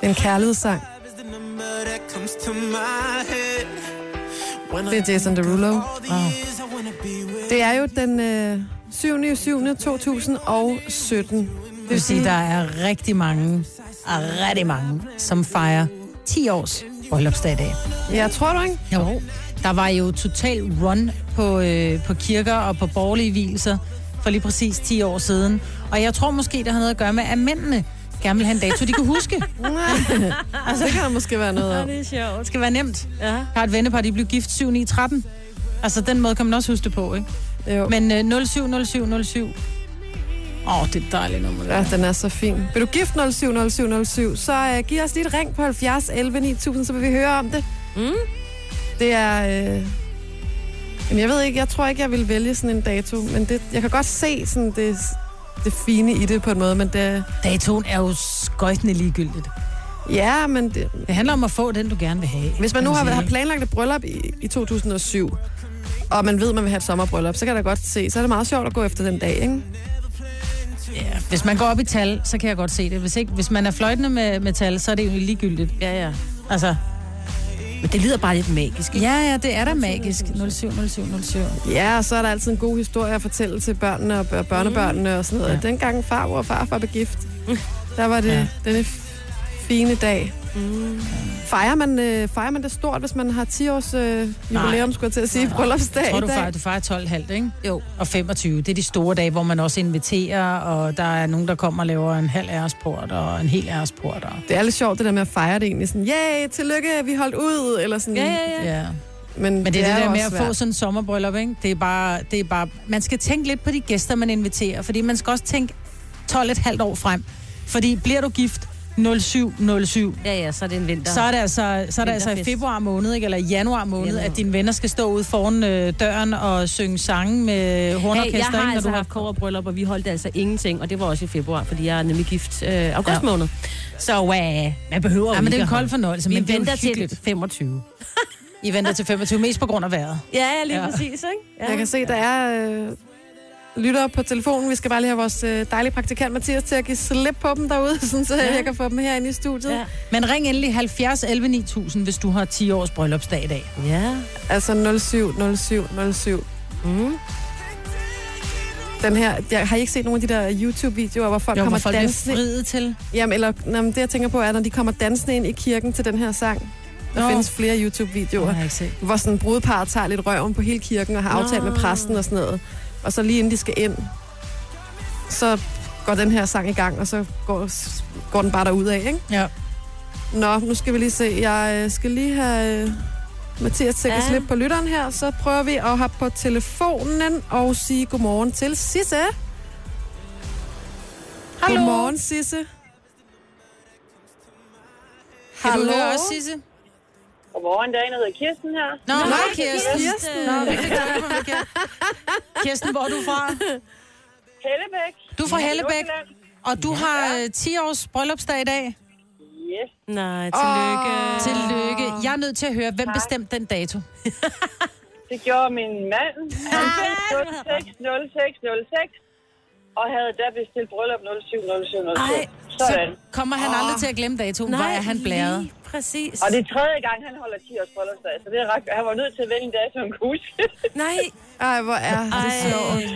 A: Den kærlighedssang. Det er Jason Derulo. Det er jo den øh, 7. 7. 2017.
B: Det vil sige, der er rigtig mange, er rigtig mange, som fejrer 10 års bryllupsdag i dag.
A: Jeg tror du ikke?
B: Jo, der var jo total run på, øh, på kirker og på borgerlige hvilser for lige præcis 10 år siden. Og jeg tror måske, det har noget at gøre med, at mændene gerne vil have en dato, de kan huske.
A: altså, det kan der måske være noget om.
C: Det er sjovt.
B: Det skal være nemt.
C: Ja.
B: Jeg har et vennepar, de blev gift 7 i 13. Altså, den måde kan man også huske det på, ikke?
A: Jo. Men...
B: Men øh, 070707. Åh, oh, det er et dejligt nummer.
A: Ja,
B: Ja.
A: den er så fin. Vil du gift 070707, så uh, giv os lige et ring på 70 11 9000, så vil vi høre om det.
C: Mm.
A: Det er... Øh... Jamen, jeg ved ikke, jeg tror ikke, jeg vil vælge sådan en dato, men det, jeg kan godt se sådan det, det fine i det på en måde, men det...
B: Datoen er jo skøjtende ligegyldigt.
A: Ja, men det,
B: Det handler om at få den, du gerne vil have.
A: Hvis man nu
B: kan
A: har,
B: sige,
A: har
B: ikke?
A: planlagt et bryllup i, i 2007, og man ved, man vil have et sommerbryllup, så kan jeg da godt se, så er det meget sjovt at gå efter den dag, ikke?
B: Ja, hvis man går op i tal, så kan jeg godt se det. Hvis, ikke, hvis man er fløjtende med, med tal, så er det jo ligegyldigt.
C: Ja, ja.
B: Altså,
C: Men det lyder bare lidt magisk, ikke?
B: ja, ja, det er da magisk. 070707.
A: Ja, og så er der altid en god historie at fortælle til børnene og bør- børnebørnene og sådan noget. Ja.
B: Ja.
A: Dengang farmor og farfar blev gift, der var det ja.
B: Ja. Mm.
A: denne f- fine dag. Fejrer man, øh, fejrer man det stort, hvis man har 10-års øh, jubilæum, skulle jeg til at sige, bryllupsdag
B: Tror
A: i
B: du,
A: dag?
B: far, du fejrer 12 halvt, ikke?
C: Jo.
B: Og 25. Det er de store dage, hvor man også inviterer, og der er nogen, der kommer og laver en halv æresport og en hel æresport. Og...
A: Det er lidt sjovt, det der med at fejre det egentlig. Sådan, yay, tillykke, vi holdt ud, eller sådan.
B: Ja.
A: Men,
B: Men det er det,
A: jo
B: der med
A: også
B: at
A: svært.
B: få sådan en sommerbryllup, ikke? Det er, bare, det er bare... Man skal tænke lidt på de gæster, man inviterer, fordi man skal også tænke 12 et halvt år frem. Fordi bliver du gift 0707,
C: Ja, ja, så er det en vinter.
B: så er det altså, så er det altså i
C: Vinterfest.
B: februar måned, ikke? eller i januar måned,
C: Januar.
B: at dine venner skal stå ude foran øh, døren og synge sange med hornorkester,
C: hey, jeg
B: ikke,
C: har altså
B: når du
C: haft koverbryllup, og vi holdt altså ingenting, og det var også i februar, fordi jeg er nemlig gift øh, august ja.
B: Ja.
C: måned. Så øh, man behøver
B: Ja,
C: jo
B: men det er
C: ikke
B: en kold
C: at holde-
B: fornøjelse,
C: Vi
B: men det er
C: venter
B: jo hyggeligt.
C: til 25.
B: I venter til 25, mest på grund af vejret.
C: Ja, ja, lige ja.
B: Ja.
C: præcis, ikke? Ja.
A: Jeg kan se, der er øh, lyttere på telefonen. Vi skal bare lige have vores øh, dejlige praktikant Mathias til at give slip på dem derude, sådan, så ja. jeg kan få dem herinde i studiet.
C: Ja.
A: Ja.
B: Men ring endelig 70 11 9000, hvis du har 10 års bryllupsdag i dag.
C: ja.
A: Altså 07, 07, 07.
C: Mm.
A: Den her, jeg, har I ikke set nogen af de der YouTube-videoer, hvor folk jo,
B: Jo,
A: kommer
B: hvor folk bliver
A: dansende?
B: friet til.
A: Jamen, eller, jamen, det jeg tænker på er, når de kommer dansende ind i kirken til den her sang. Der
B: Nå.
A: findes flere YouTube-videoer.
B: Det har jeg ikke set.
A: hvor sådan brudeparret tager lidt røven på hele kirken og har aftalt med præsten og sådan noget. Og så lige inden de skal ind, så går den her sang i gang, og så går, går den bare derud af, ikke?
B: Ja.
A: Nå, nu skal vi lige se. Jeg øh, skal lige have øh, Mathias til at ja.
C: Ja.
A: slip på lytteren her. Så prøver vi at hoppe på telefonen og sige godmorgen til Sisse.
B: Hallo.
A: Godmorgen, Sisse.
B: Kan du høre os, Sisse?
I: Godmorgen, der er en, der hedder Kirsten her.
B: Nå, Nå hej, Kirsten.
A: Kirsten.
B: Nå, vi fik dig på forkert. Kirsten, hvor er du fra?
I: Hellebæk.
B: Du er fra Hellebæk,
I: Nordsjælland.
B: og du har 10 års bryllupsdag i dag.
I: Yes.
C: Nej, tillykke. Oh.
B: Tillykke. Jeg er nødt til at høre, hvem bestemte den dato?
I: Det gjorde min mand. Han fik 060606 og havde da bestilt bryllup 070707.
C: Ej,
I: Sådan.
B: Så kommer han aldrig til at glemme datoen. Hvor er han blæret?
C: lige Præcis.
I: Og det er tredje gang, han holder 10 års bryllupsdag, så det er ret, han var nødt til at vælge en dag, som han kunne huske.
C: Nej,
A: Ej, hvor er det sjovt.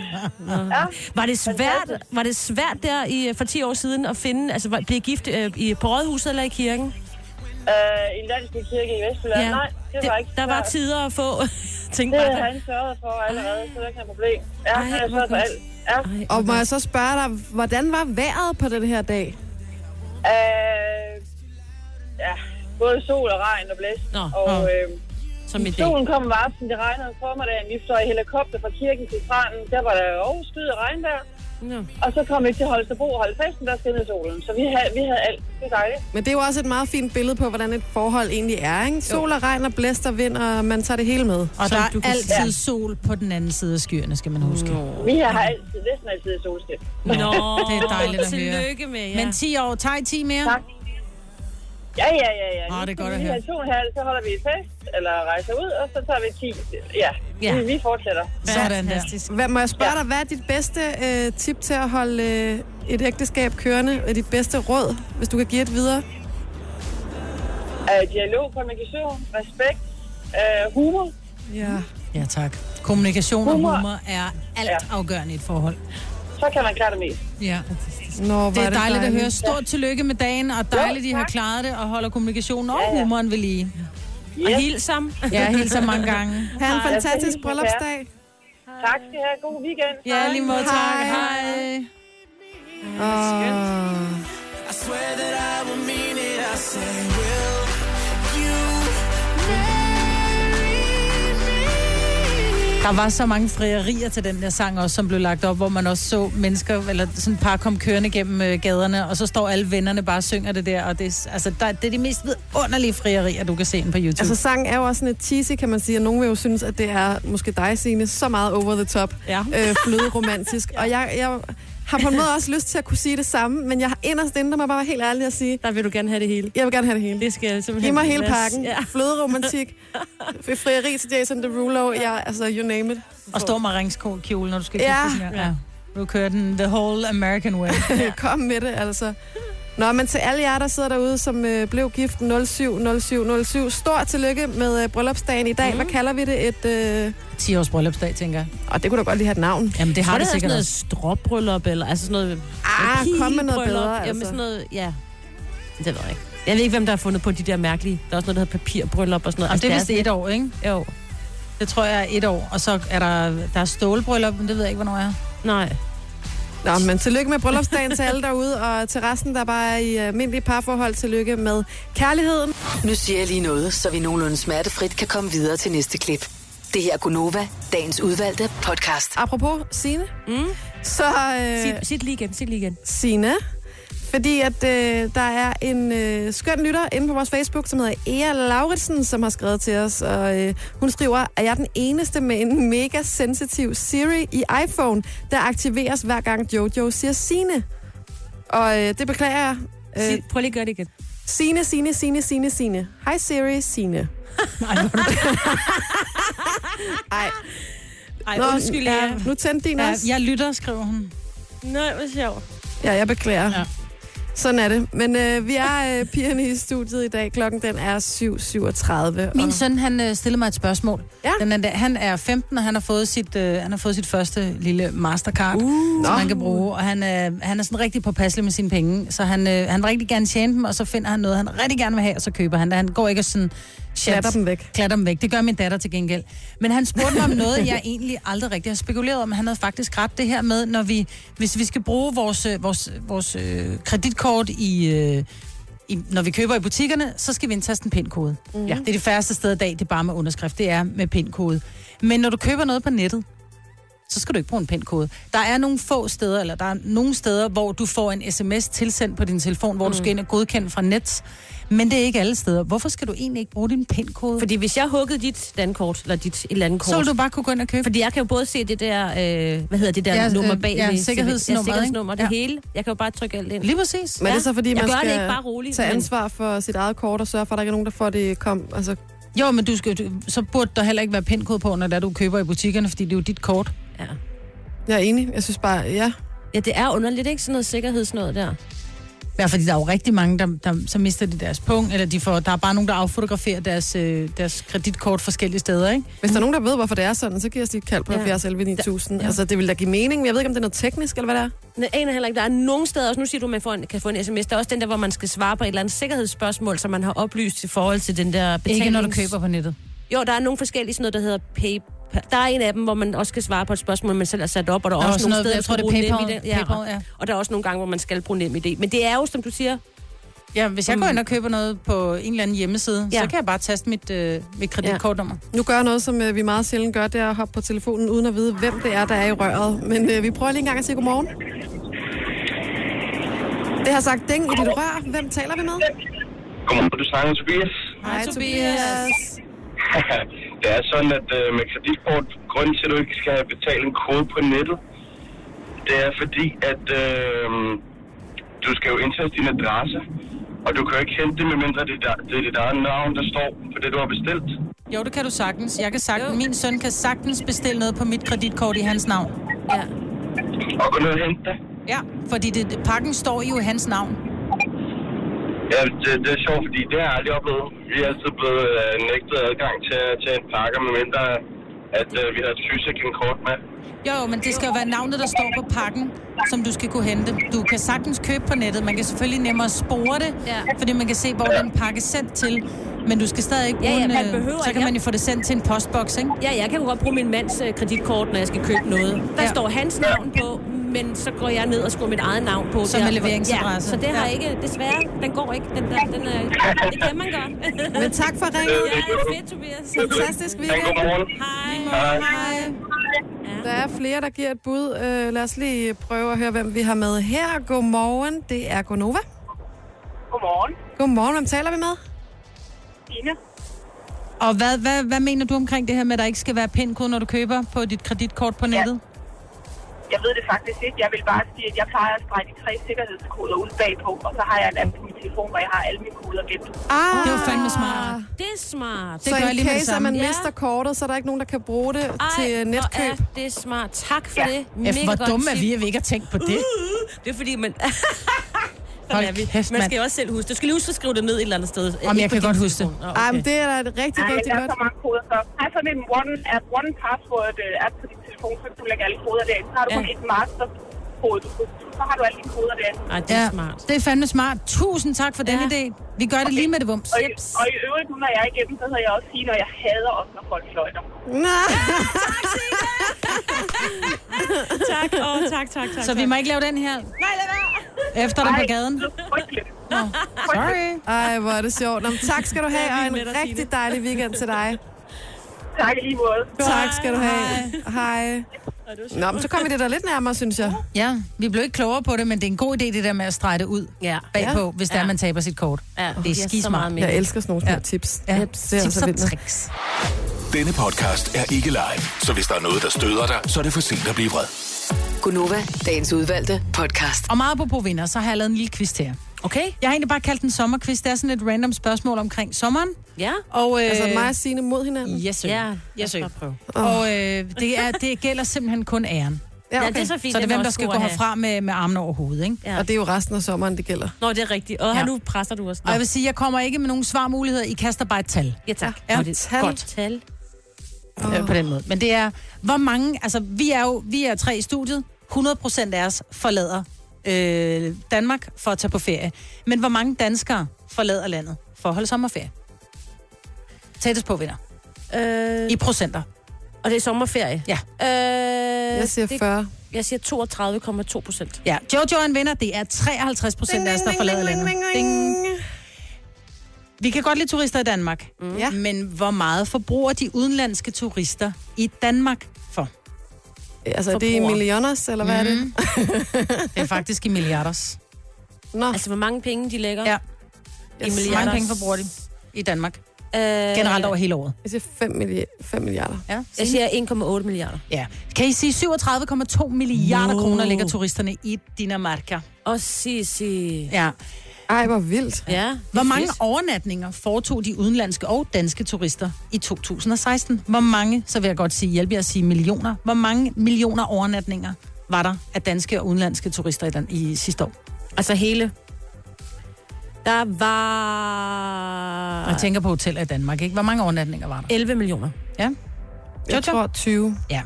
I: ja.
C: var det svært, var det svært der i, øh, for 10 år siden at finde, altså var- blive gift øh, i, på rådhuset eller i kirken?
I: øh, I en landsby kirke i Vestjylland. Ja. Nej, det var ikke
C: Der var
I: svært.
C: tider at få. Tænk
I: Det
C: bare,
I: havde han sørget for allerede, så det er ikke noget problem. Ja,
C: Ej,
I: han har
C: hvor
I: sørget for
C: godt.
I: alt. Ja.
A: Og må jeg så spørge dig, hvordan var vejret på den her dag?
I: Øh, ja, både sol og regn og blæst.
C: Nå,
I: og,
C: nå.
I: øh,
C: som i dag.
I: Solen kom om aftenen, det regnede om formiddagen. Vi fløj i helikopter fra kirken til stranden. Der var der overskyet og regnvejr.
C: Nå.
I: Og så kom vi til Holstebro og holdt festen, der skinnede solen. Så vi havde, vi havde alt. Det er dejligt.
A: Men det er jo også et meget fint billede på, hvordan et forhold egentlig er. Ikke? Sol og regn og blæst og vind, og man tager det hele med.
B: Og der
C: du
B: er
C: kan
B: altid sol på den anden side af skyerne, skal man huske.
I: Vi har altid, næsten altid solskin.
C: Nå,
B: det er dejligt at høre.
C: Tillykke med jer.
B: Men 10 år, tager I 10 mere?
I: Tak. Ja, ja, ja, ja.
B: Åh, det er godt at
I: vi
B: høre.
I: har to og en halv, så holder vi et fest, eller rejser ud, og så tager vi 10. Ja,
C: Ja.
I: ja. Vi, vi fortsætter.
B: Sådan der.
A: Hvad, må jeg spørge
I: Ja.
A: dig, hvad er dit bedste øh, tip til at holde øh, et ægteskab kørende? Og dit bedste råd, hvis du kan give et videre?
I: Uh, dialog, kommunikation, respekt, uh, humor.
A: Ja.
B: Ja, tak. Kommunikation og
I: Humor.
B: humor er alt afgørende i et forhold.
I: Så kan man klare det mest.
B: Ja.
A: Nå,
B: Det er dejligt at høre. Stort tillykke med dagen, og dejligt, I har klaret det og holder kommunikationen og
I: ja.
B: humoren ved lige.
C: Og hils ham.
B: Ja, helt så mange gange.
A: Ha' en fantastisk
I: hilse
A: bryllupsdag.
I: Tak skal I have. God weekend.
B: Ja, lige måde, tak.
A: Hej.
B: Hej.
A: Og...
F: Marry me.
B: Der var så mange frierier til den der sang også, som blev lagt op, hvor man også så mennesker, eller sådan et par kom kørende gennem øh, gaderne, og så står alle vennerne bare og synger det der, og det, er s- altså, der, det er de mest vidunderlige frierier, du kan se ind på YouTube.
A: Altså,
B: Altså,
A: sangen er jo også sådan et cheesy, kan man sige, og nogen vil jo synes, at det er måske dig, Signe, så meget over the top,
B: Ja.
A: øh, fløde romantisk. Og jeg, jeg har på en måde også lyst til at kunne sige det samme, men jeg har inderst inde, der må jeg bare være helt ærlig og sige,
C: Der vil du gerne have det hele.
A: jeg vil gerne have det hele.
C: Det skal simpelthen...
A: Giv mig
C: på
A: hele
C: plads.
A: pakken. Ja.
C: Ja.
A: Fløde romantik. Frieri til Jason Derulo. Ja, altså, you name it.
B: og står med ringskjole, når du skal
A: Ja.
B: kigge på den her. Ja. Nu kører den The Whole American Way.
A: Kom med det, altså. Nå, men til alle jer, der sidder derude, som øh, blev gift 070707, stort tillykke med øh, bryllupsdagen i dag. Mm. Hvad kalder vi det? Et, øh...
B: 10 Mhm. års bryllupsdag, tænker jeg.
A: Og det kunne da godt lige have et navn.
B: Jamen, det
C: Har
B: har
C: det
B: det,
C: hedder sådan
B: sikkert
C: noget
B: også.
C: stråbryllup, eller altså sådan noget...
A: Ah, kom med noget
C: pigebryllup.
A: bedre,
C: Jamen
A: altså.
C: sådan noget, ja. Det ved jeg ikke. Jeg ved ikke, hvem der har fundet på de der mærkelige... Der er også noget, der hedder papirbryllup og sådan noget.
B: Jamen, det er vist
C: altså,
B: et år, ikke?
C: er sådan lidt-
B: Det tror jeg er et år, og så er der, der er stålbryllup, men det ved jeg ikke, hvornår er.
C: Jo. Nej.
A: Nå, men tillykke med bryllupsdagen til alle derude, og til resten, der bare er i øh, almindelige parforhold, tillykke med kærligheden.
H: Nu siger jeg lige noget, så vi nogenlunde smertefrit kan komme videre til næste klip. Det her er Gunova, dagens udvalgte podcast.
A: Apropos Signe, mm. så... Øh,
C: Sig, sig det lige igen, sig det lige igen.
A: Sine. Fordi at øh, der er en øh, skøn lytter inde på vores Facebook, som hedder Ea Lauritsen, som har skrevet til os. Og øh, hun skriver, at jeg er den eneste med en mega sensitiv Siri i iPhone, der aktiveres hver gang Jojo siger Sine. Og øh, det beklager jeg. Øh,
C: Sig, prøv lige at gøre det igen.
A: Sine, Sine, Sine, Sine, Sine. Hej Siri, Sine. Nej,
C: Ej,
A: Nå,
C: undskyld, ja.
A: ja, nu tændte din
B: Ja,
A: også.
B: jeg lytter, skriver hun.
C: Nej, hvor sjovt.
A: Ja, jeg beklager. Ja.
B: Ja.
A: Sådan er det. Men øh, vi er øh, pigerne i studiet i dag. Klokken den er 7.37.
B: Min søn, han øh, stillede mig et spørgsmål.
A: Ja.
B: Den er, der- han er 15, og han har fået sit, øh, han har fået sit første lille Mastercard, uh, som
A: nå.
B: han kan bruge. Og han, øh, han er sådan rigtig påpasselig med sine penge, så han, øh, han vil rigtig gerne tjene dem, og så finder han noget, han rigtig gerne vil have, og så køber han det. Han går ikke og sådan... shit,
A: Klatter dem væk.
B: Klatter dem væk. Det gør min datter til gengæld. Men han spurgte mig om noget, jeg egentlig aldrig rigtig har spekuleret om. Han havde faktisk ret det her med, når vi, hvis vi skal bruge vores, øh, vores, vores øh, kreditkort i, øh, i, når vi køber i butikkerne, så skal vi indtaste en pindkode. Mm. Ja. Det er det færreste sted i dag, det er bare med underskrift. Det er med pindkode. Men når du køber noget på nettet, så skal du ikke bruge en pindkode. Der er nogle få steder, eller der er nogle steder, hvor du får en sms tilsendt på din telefon, hvor mm. du skal ind og godkende fra net. Men det er ikke alle steder. Hvorfor skal du egentlig ikke bruge din pindkode?
C: Fordi hvis jeg huggede dit dankort, eller dit et eller andet kort,
B: Så vil du bare kunne gå ind og købe.
C: Fordi jeg kan jo både se det der, øh, hvad hedder det der
B: Ja,
C: ja,
B: øh,
C: nummer bag
B: ja,
C: ved-
B: sikkerhedsnummeret,
C: ja, sikkerhedsnummer det
B: ikke?
C: hele. Jeg kan jo bare trykke alt ind.
B: Lige præcis.
A: Men er
C: Ja,
A: det så, fordi
C: jeg
A: man
C: gør det
A: skal
C: ikke bare roligt,
A: tage
C: men-
A: ansvar for sit eget kort og sørge for, at der ikke er nogen, der får det kom? Altså,
B: Jo, men du skal, du, så burde der heller ikke være pindkode på, når det er, du køber i butikkerne, fordi det er jo dit kort.
C: Ja.
A: jeg er enig. Jeg synes bare, ja.
C: ja, det er underligt, ikke? Sådan noget sikkerhedsnød der.
B: Ja, fordi der er jo rigtig mange, der, der så mister de deres punkt, eller de får, der er bare nogen, der affotograferer deres, øh, deres kreditkort forskellige steder, ikke?
A: Hvis der er nogen, der ved, hvorfor det er sådan, så giver os lige et kald på
C: Ja.
A: 70 11 9000. Altså, det vil da give mening, men jeg ved ikke, om det er noget teknisk, eller hvad det er.
C: Jeg aner heller ikke, der er nogen steder, også nu siger du, at man får en, kan få en sms, der er også den der, hvor man skal svare på et eller andet sikkerhedsspørgsmål, som man har oplyst i forhold til den der betalings...
B: Ikke når du køber på nettet.
C: Jo, der er nogle forskellige, sådan noget, der hedder PayPal. Der er en af dem, hvor man også skal svare på et spørgsmål, man selv har sat op, og der er
B: Nå,
C: også
B: sådan
C: nogle
B: noget,
C: steder,
B: jeg
C: skal
B: tror, det er
C: bruge
B: PayPal.
C: NemID. Ja.
B: PayPal, ja.
C: Og der er også nogle gange, hvor man skal bruge nem idé. Men det er jo, som du siger,
B: Ja, hvis
A: Mm.
B: jeg går ind og køber noget på en eller anden hjemmeside, ja.
C: Ja.
B: så kan jeg bare taste mit, øh, mit kreditkortnummer.
A: Nu gør jeg noget, som øh, vi meget sjældent gør, det er at hoppe på telefonen, uden at vide, hvem det er, der er i røret. Men øh, vi prøver lige en gang at sige godmorgen. Det har sagt ding i dit rør. Hvem taler vi med?
J: Godmorgen, du snakker med Tobias.
A: Hej,
B: Tobias.
J: det er sådan, at øh, med kreditkort, grunden til, at du ikke skal have betalt en kode på nettet, det er fordi, at øh, du skal jo indtaste din adresse, og du kan jo ikke hente det, medmindre det er dit- det er dit eget navn, der står på det, du har bestilt.
B: Jo, det kan du sagtens. Jeg kan sagtens. Min søn kan sagtens bestille noget på mit kreditkort i hans navn.
C: ja.
J: Og gå ned og hente det.
B: Ja, fordi det, pakken står jo i hans navn.
J: Ja, det, det er sjovt, fordi det har jeg aldrig oplevet. Vi er altid blevet øh, nægtet adgang til, til en pakke, medmindre at øh, vi har et sygesikring kort med.
B: Jo, jo, men det skal jo være navnet, der står på pakken, som du skal kunne hente. Du kan sagtens købe på nettet. Man kan selvfølgelig nemmere spore det,
C: Ja.
B: fordi man kan se, hvor den pakke er sendt til. Men du skal stadig ikke
C: Ja,
B: bruge
C: ja,
B: en,
C: man
B: øh,
C: behøver
B: Så kan
C: ikke-
B: man jo få det sendt til en postboks, ikke?
C: Ja, jeg kan jo godt bruge min mands øh, kreditkort, når jeg skal købe noget. Der
B: Ja.
C: ja. står hans navn på, men så går jeg ned og skriver mit eget navn på.
B: Som
C: der.
B: en leveringsadresse.
C: Ja, så det har
B: Ja.
C: ikke, desværre, den går ikke. Den der, den er, det kan man godt.
A: Men tak for ringet.
C: Ja, det er fedt, Tobias.
A: Fantastisk weekend.
C: Hej.
A: Hej. Der er flere, der giver et bud. Øh, lad os lige prøve at høre, hvem vi har med her. Godmorgen, det er Gonova.
K: Godmorgen.
A: Godmorgen, hvem taler vi med?
K: Tina.
B: Og hvad, hvad, hvad mener du omkring det her med, at der ikke skal være pindkode, når du køber på dit kreditkort på nettet?
K: Jeg ved det faktisk ikke. Jeg vil bare sige, at jeg plejer at strege de tre sikkerhedskoder ud bagpå, og så har jeg en app på min telefon, hvor jeg har alle mine koder gemt.
A: Ah,
B: det var fandme smart.
C: Det er smart.
A: så in case, at man mister kortet, så er der ikke nogen, der kan bruge det Ej, til øh,
C: Hvor er
A: netkøb.
C: det smart. Tak for
A: Ja.
C: det.
B: Ja, for hvor
C: godt
B: dumme er
C: tip.
B: vi, at vi ikke har tænkt på det.
C: Uh, det er fordi, man... Sådan
B: Hold
C: er vi.
B: kæft,
C: man
B: mand.
C: skal jo også selv huske det. Du skal lige huske at skrive det ned et eller andet sted.
B: Jamen, jeg kan godt huske det.
A: Ej, Ah, men det er da et rigtig,
K: Ej,
A: rigtig
K: der er
A: godt.
K: så mange koder. Så har sådan en one-app, one-password-app øh, på din telefon, så du lægger alle koder derinde. Så har du
B: Ja.
K: kun et master-kode, du kan- så har du alle dine koder derinde.
C: Ej,
B: ja, Ah, Det er fandme smart. Tusind tak for ja. den idé. Vi gør det lige med det vums.
K: Og, i, og i øvrigt, nu når jeg er igennem, så hedder jeg også Signe, og jeg hader også, når folk fløjter.
C: tak, åh, tak, tak, tak.
B: Så vi må ikke lave den her
K: Nej, lad være.
B: efter dig
A: Ej,
B: på gaden? Nå, sorry.
A: Ej, hvor er det sjovt. Nå, men tak skal du
B: Jeg
A: have,
B: er
A: og
B: vild
A: en
B: med dig,
A: rigtig dejlig weekend til dig.
K: Tak i lige måde.
A: Tak skal du have. Hej. Nå, men så kommer vi det der lidt nærmere, synes jeg.
B: Ja, vi blev ikke klogere på det, men det er en god idé, det der med at strege det ud
C: ja.
B: bagpå,
A: Ja.
B: hvis der
A: Ja.
B: man taber sit kort.
C: Ja.
B: Det er skismart.
A: Jeg elsker sådan nogle små tips. Ja. Det er
B: Tips
A: så
B: og
A: vildt. med.
B: tricks.
L: Denne podcast er ikke live, så hvis der er noget, der støder dig, så er det for sent at blive vred.
H: Gunova, dagens udvalgte podcast.
B: Og meget på vinder, så har jeg lavet en lille quiz til jer.
C: Okay.
B: Jeg har egentlig bare kaldt den sommerquiz. Det er sådan et random spørgsmål omkring sommeren.
C: Ja.
B: Og, øh,
A: Altså mig og Signe mod hinanden?
B: Yes, sir.
C: Ja,
B: yes, sir.
C: prøve.
B: Og øh, det, er, det gælder simpelthen kun æren.
A: Ja, okay. Ja, det er så fint.
B: Så det er
A: Den
B: hvem,
A: er
B: der
A: også
B: skal
A: god
B: gå
A: at have.
B: herfra med, med armene over hovedet, ikke?
A: Og det er jo resten af sommeren, det gælder.
C: Nå, det er rigtigt. Og
B: Ja.
C: ja. nu presser du også.
B: Og jeg vil sige, jeg kommer ikke med nogen svarmuligheder. I kaster bare et tal.
C: Ja, tak.
B: Ja,
C: Og det-
B: tal.
C: Godt. Tal.
B: Øh, på den måde. Men det er, hvor mange... Altså, vi er jo vi er tre i studiet. 100 procent af os forlader øh, Danmark for at tage på ferie. Men hvor mange danskere forlader landet for at holde sommerferie? Tættest på vinder.
C: Øh,
B: I procenter.
C: Og det er sommerferie?
B: Ja.
C: Øh,
B: Jeg siger 40.
C: Jeg siger 32,2 procent.
B: Ja, Jojo er en vinder. Det er 53 procent af os, der forlader landet. Ding. Vi kan godt lide turister i Danmark. Mm. Men hvor meget forbruger de udenlandske turister i Danmark for?
A: Altså, er det i
B: Forbruger.
A: millioners, eller hvad er det?
B: Det er faktisk i milliarders.
A: Nå.
C: Altså, hvor mange penge de lægger?
B: Ja.
C: I
B: Yes.
C: milliarder.
B: Hvor mange penge forbruger de i Danmark?
C: Øh,
B: Generelt over hele året.
A: Jeg siger 5, milli- 5 milliarder.
B: Ja.
C: Jeg siger 1,8 milliarder.
B: Ja. Kan I sige 37,2 milliarder
C: Wow.
B: kroner ligger turisterne i Dinamarca?
C: Og si, si.
B: Ja.
A: Ej, hvor vildt.
C: Ja.
B: Hvor mange overnatninger foretog de udenlandske og danske turister i 2016? Hvor mange, så vil jeg godt sige, hjælpe jer at sige millioner. Hvor mange millioner overnatninger var der af danske og udenlandske turister i, den, i sidste år?
C: Altså hele? Der var...
B: Jeg tænker på hoteller i Danmark, ikke? Hvor mange overnatninger var der?
C: 11 millioner.
B: Ja.
A: Jeg tror 20.
B: Ja.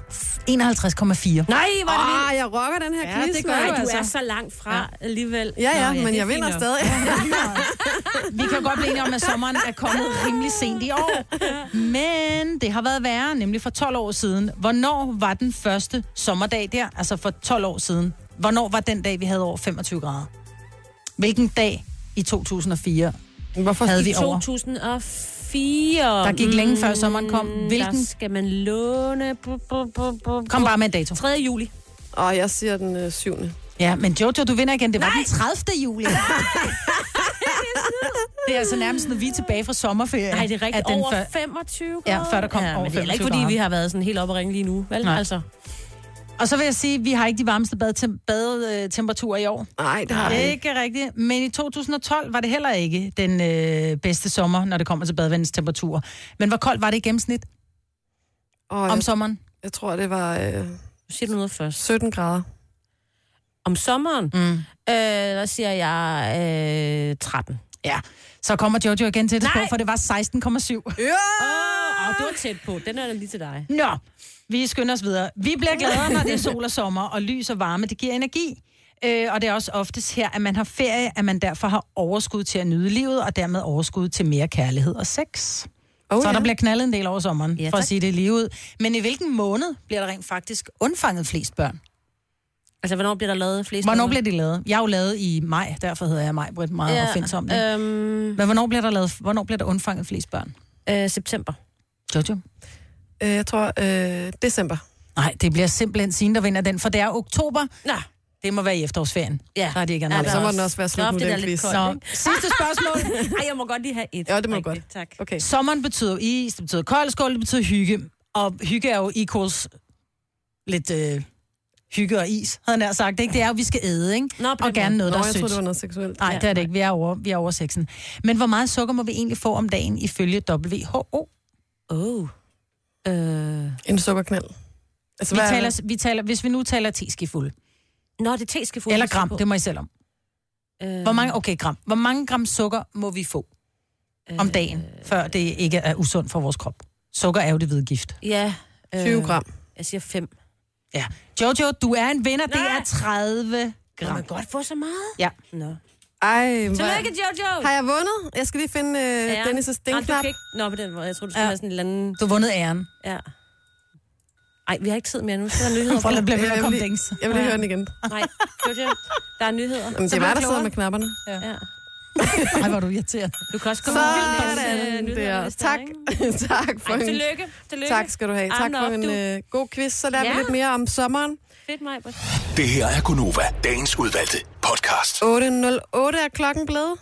B: 51,4. Nej,
C: hvor er det vildt.
A: Ah, jeg rocker den her quiz, mand.
C: Ej, du er så langt fra ja. alligevel.
A: Ja, ja,
B: altså. Nå, ja,
A: men
B: det er
A: jeg
B: fint
A: vinder
B: nok.
A: stadig.
B: Vi kan godt blive enige om, at sommeren er kommet rimelig sent i år. Men det har været værre, nemlig for 12 år siden. Hvornår var den første sommerdag der? Altså for 12 år siden. Hvornår var den dag, vi havde over 25 grader? Hvilken dag i 2004 Hvorfor havde
C: I
B: vi over?
C: 2004.
B: Der gik længe før sommeren kom.
C: Mm,
B: Hvilken-
C: Der skal man låne... Bu- bu- bu-
B: Kom
C: bu- bu-
B: bare med en dato.
C: 3. juli.
A: Og jeg siger den øh, 7.
B: Ja, men Jojo, du vinder igen. Det var Nej. den 30. juli. det er altså nærmest, når vi er tilbage fra sommerferie.
C: Nej, det er rigtigt.
B: at den
C: Over
B: før-
C: 25
B: Ja,
C: grader.
B: før der kom
C: ja,
B: over
C: men det er heller ikke,
B: 25
C: fordi vi
B: grader.
C: har været sådan helt oppe og ringe lige nu. Vel?
B: Nej.
C: Altså.
B: Og så vil jeg sige, at vi har ikke de varmeste badetem- øh, badetemperaturer i år.
A: Nej, det har vi
B: ikke.
A: ikke.
B: Ikke rigtigt. Men i 2012 var det heller ikke den øh, bedste sommer, når det kommer til badevandets temperaturer. Men hvor koldt var det i gennemsnit
A: Og
B: om
A: jeg,
B: sommeren?
A: jeg tror, det var øh,
C: Nu siger du noget først.
A: 17 grader.
C: Om sommeren, mm. øh, der siger jeg øh, 13.
B: Ja. Så kommer Jojo igen til det
C: Nej.
B: på, for det var 16,7.
A: Ja!
C: Åh, oh, det var tæt på. Den er da lige til dig.
B: Nå, vi skynder os videre. Vi bliver gladere, når det er sol og sommer, og lys og varme, det giver energi. Øh, og det er også oftest her, at man har ferie, at man derfor har overskud til at nyde livet, og dermed overskud til mere kærlighed og sex.
A: Oh,
B: så
A: ja.
B: der bliver knaldet en del over sommeren,
C: Ja,
B: for at
C: tak.
B: sige det lige ud. Men i hvilken måned bliver der rent faktisk undfanget flest børn?
C: Altså, hvornår bliver der lavet flest
B: Hvornår
C: numre?
B: bliver de lavet? Jeg er jo lavet i maj, derfor hedder jeg maj, Britt, meget ja,
C: Ja,
B: opfindsom. Øhm... Men hvornår bliver der lavet, hvornår bliver der undfanget flest børn?
C: Øh, september.
B: Jojo?
A: Øh, jeg tror, øh, december.
B: Nej, det bliver simpelthen Signe, der vinder den, for det er oktober.
C: Nej.
B: Det må være i efterårsferien.
C: Ja.
B: Der er det ikke
A: Ja,
B: andet.
A: så må den også være slut nu,
B: det
A: den quiz.
B: Nå, sidste spørgsmål.
C: Ej, jeg må godt lige have et.
A: Ja, det må du
C: Rigtigt, Tak.
A: Okay.
B: Sommeren betyder is, det betyder koldskål, det betyder hygge. Og hygge er jo equals lidt øh, hygge og is, havde jeg nær sagt. Ikke? Det er jo, vi skal æde, ikke?
C: Nå,
B: og gerne noget,
A: Nå,
B: der
A: jeg troede,
B: er
A: det var
B: sødt.
A: noget seksuelt.
B: Nej, det er det ikke. Vi er, over, vi er over sexen. Men hvor meget sukker må vi egentlig få om dagen ifølge WHO?
C: Oh. Øh.
A: En sukkerknald.
B: Altså, vi,
A: hvad er
B: taler, vi taler, hvis vi nu taler teskefuld.
C: Nå, det er teskefuld.
B: Eller gram, det må I selv om.
C: Øh.
B: Hvor mange, okay, gram. Hvor mange gram sukker må vi få
C: Øh.
B: om dagen, før det ikke er usundt for vores krop? Sukker er jo det hvide gift.
C: Ja. øh,
A: 20 gram.
C: Jeg siger 5.
B: Ja. Jojo, du er en vinder. Det er 30
C: Kan
B: gram.
C: man godt få så meget?
B: Ja.
C: Nå.
A: Ej, hvor...
C: Tillykke, Jojo!
A: Har jeg vundet? Jeg skal lige finde øh, ja. Dennis'
C: Nå, du
A: stenknap.
C: kan ikke... Nå, på den måde. Jeg tror, du skulle
B: Ja.
C: ja. have sådan en eller anden...
B: Du har vundet æren.
C: Ja. Ej, vi har ikke tid mere nu. Så er der nyheder.
B: For at blive ved med at
A: Jeg
B: komme
A: vil lige-
B: dings.
A: Jeg vil lige høre den igen.
C: Nej, Jojo, der er nyheder.
A: Jamen, det
B: Så
A: er mig,
B: bliver
A: der sidder
B: klogere.
A: med knapperne.
C: Ja.
B: Ej, hvor er du irriterende.
C: Du kan også komme
A: Sådan der. Tak. tak for
C: Ej,
A: en...
C: tillykke. Tillykke.
A: Tak skal du have. Tak
C: Armene
A: for
C: op,
A: en
C: du.
A: øh, god quiz. Så lærer vi
C: Ja.
A: lidt mere om sommeren.
C: Fedt, Majbert.
L: Det her er Gunova, dagens udvalgte podcast.
A: 8.08 er klokken blevet.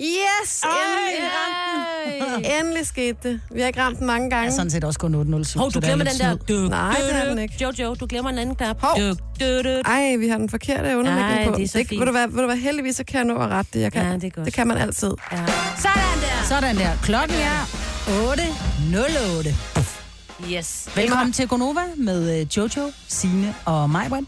A: Yes! Endelig, endelig skete det. Vi har ikke ramt den mange
B: Jeg
A: gange.
B: er sådan set også kun 807.
C: Hov, du glemmer den der... Du,
A: Nej, det er den ikke.
C: Jojo, du glemmer en anden knap.
A: Hov.
C: Du, du, du.
A: Ej, vi har den forkerte underlægning
C: Ej,
A: på.
C: det er så
A: Det-
C: fint.
A: Ved du hvad, ved du hvad, heldigvis så kan jeg nå at rette det, jeg kan.
C: Ja, det er godt.
A: det kan man altid.
C: Ja.
B: Sådan der. Klokken er 8.08.
C: Yes.
B: Velkommen til Gonova med øh, Jojo, Sine og Majbrit.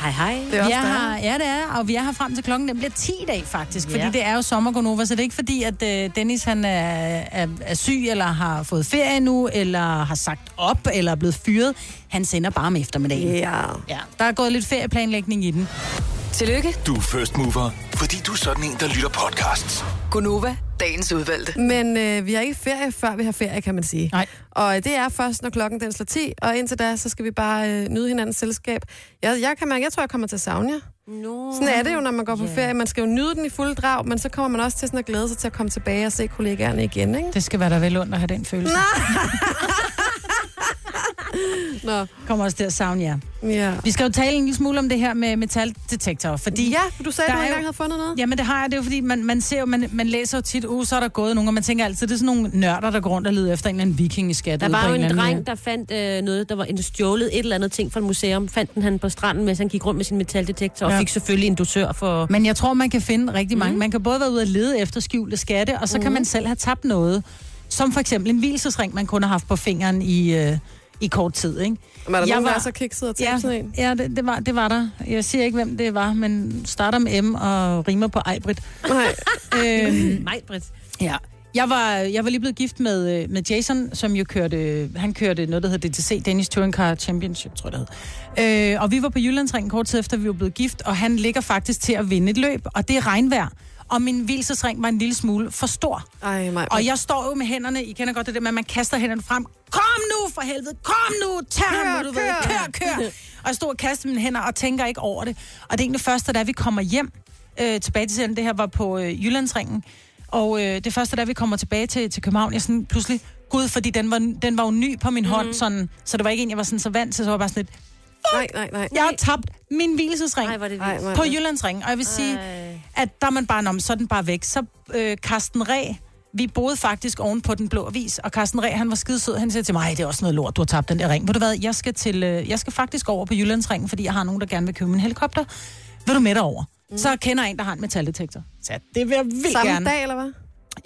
C: Hej, hej.
A: Det er også
B: Jeg har,
A: der.
B: ja, det er, og vi er her frem til klokken. Den bliver 10 i dag, faktisk, fordi
C: Ja.
B: det er jo sommergonova, så det er ikke fordi, at øh, Dennis han er, er, er syg, eller har fået ferie nu, eller har sagt op, eller er blevet fyret. Han sender bare om eftermiddagen.
A: Ja.
B: Ja, der er gået lidt ferieplanlægning i den.
H: Tillykke,
L: Du er first mover, fordi du er sådan en, der lytter podcasts.
H: Gunova, dagens udvalgte.
A: Men øh, vi har ikke ferie, før vi har ferie, kan man sige.
B: Nej.
A: Og øh, det er først, når klokken den slår 10, og indtil da, så skal vi bare øh, nyde hinandens selskab. Jeg, jeg, kan mærke, jeg tror, jeg kommer til at savne jer.
C: No.
A: Sådan er det jo, når man går på ferie. Man skal jo nyde den i fuld drag, men så kommer man også til sådan at glæde sig til at komme tilbage og se kollegaerne igen, ikke?
B: Det skal være der vel ondt at have den følelse. Nej.
A: Nå,
B: Kommer også til at savne jer.
A: ja.
B: Vi skal jo tale en lille smule om det her med metaldetektorer, fordi...
A: Ja, for du sagde,
B: Der
A: at du
B: er jo-
A: engang havde fundet noget.
B: Jamen det har jeg, det er jo fordi, man, man ser jo, man, man læser jo tit, uh, så er der gået nogen, og man tænker altid, det er sådan nogle nørder, der går rundt og leder efter en eller anden vikingeskat.
C: Der
B: ude
C: var
B: på
C: jo en
B: eller anden-
C: dreng, der fandt øh, noget, der var en stjålet et eller andet ting fra et museum. Fandt den han på stranden, mens han gik rundt med sin metaldetektor,
B: Ja.
C: og fik selvfølgelig en dosør for... Mhm.
B: Men jeg tror, man kan finde rigtig mange. Mm. Man kan både være ude og lede efter skjulte skatte, og så mm. kan man selv have tabt noget. Som for eksempel en hvilesesring, man kun har haft på fingeren i, øh, i kort tid, ikke?
A: Var der
B: Jeg
A: nogen, der
B: var-
A: er så kikset og
B: Ja,
A: tænkte sådan en?
B: ja det, det, var, det var der. Jeg siger ikke, hvem det var, men starter med M og rimer på Ejbrit.
A: Nej.
B: øhm,
C: Nej, Britt.
B: ja. Jeg var, jeg var lige blevet gift med, øh, med Jason, som jo kørte, øh, han kørte noget, der hedder DTC, Danish Touring Car Championship, tror jeg, det hed. Øh, og vi var på Jyllandsringen kort tid efter, vi var blevet gift, og han ligger faktisk til at vinde et løb, og det er regnvejr. Og min hvilesesring var en lille smule for stor.
A: Ej, mig.
B: Og jeg står jo med hænderne, I kender godt det der med, at man kaster hænderne frem. Kom nu for helvede, kom nu, tag ham nu, du ved, kør, kør. Og jeg stod og kastede mine hænder og tænker ikke over det. Og det er egentlig første, da vi kommer hjem øh, tilbage til selvom det her var på øh, Jyllandsringen. Og øh, det første, da vi kommer tilbage til, til København, jeg sådan pludselig, gud, fordi den var, den var jo ny på min mm. hånd, sådan, så det var ikke en, jeg var sådan så vant til, så var jeg bare sådan lidt,
A: Nej, nej, nej.
B: jeg har tabt min hvilesesring
C: Nej, var det
A: Ej,
C: vildt.
A: mig.
B: på Jyllandsringen, og jeg vil sige, at der er man bare, nå, men så er den bare væk. Så øh, Carsten Ræ, vi boede faktisk oven på den blå avis, og Carsten Ræ, han var skidesød, han siger til mig, det er også noget lort, du har tabt den der ring. Ved du hvad, jeg skal, til, øh, jeg skal faktisk over på Jyllandsringen, fordi jeg har nogen, der gerne vil købe en helikopter. Vil du med derover? Mm. Så kender jeg en, der har en metaldetektor. Så det vil jeg vildt
A: Samme
B: gerne.
A: dag, eller hvad?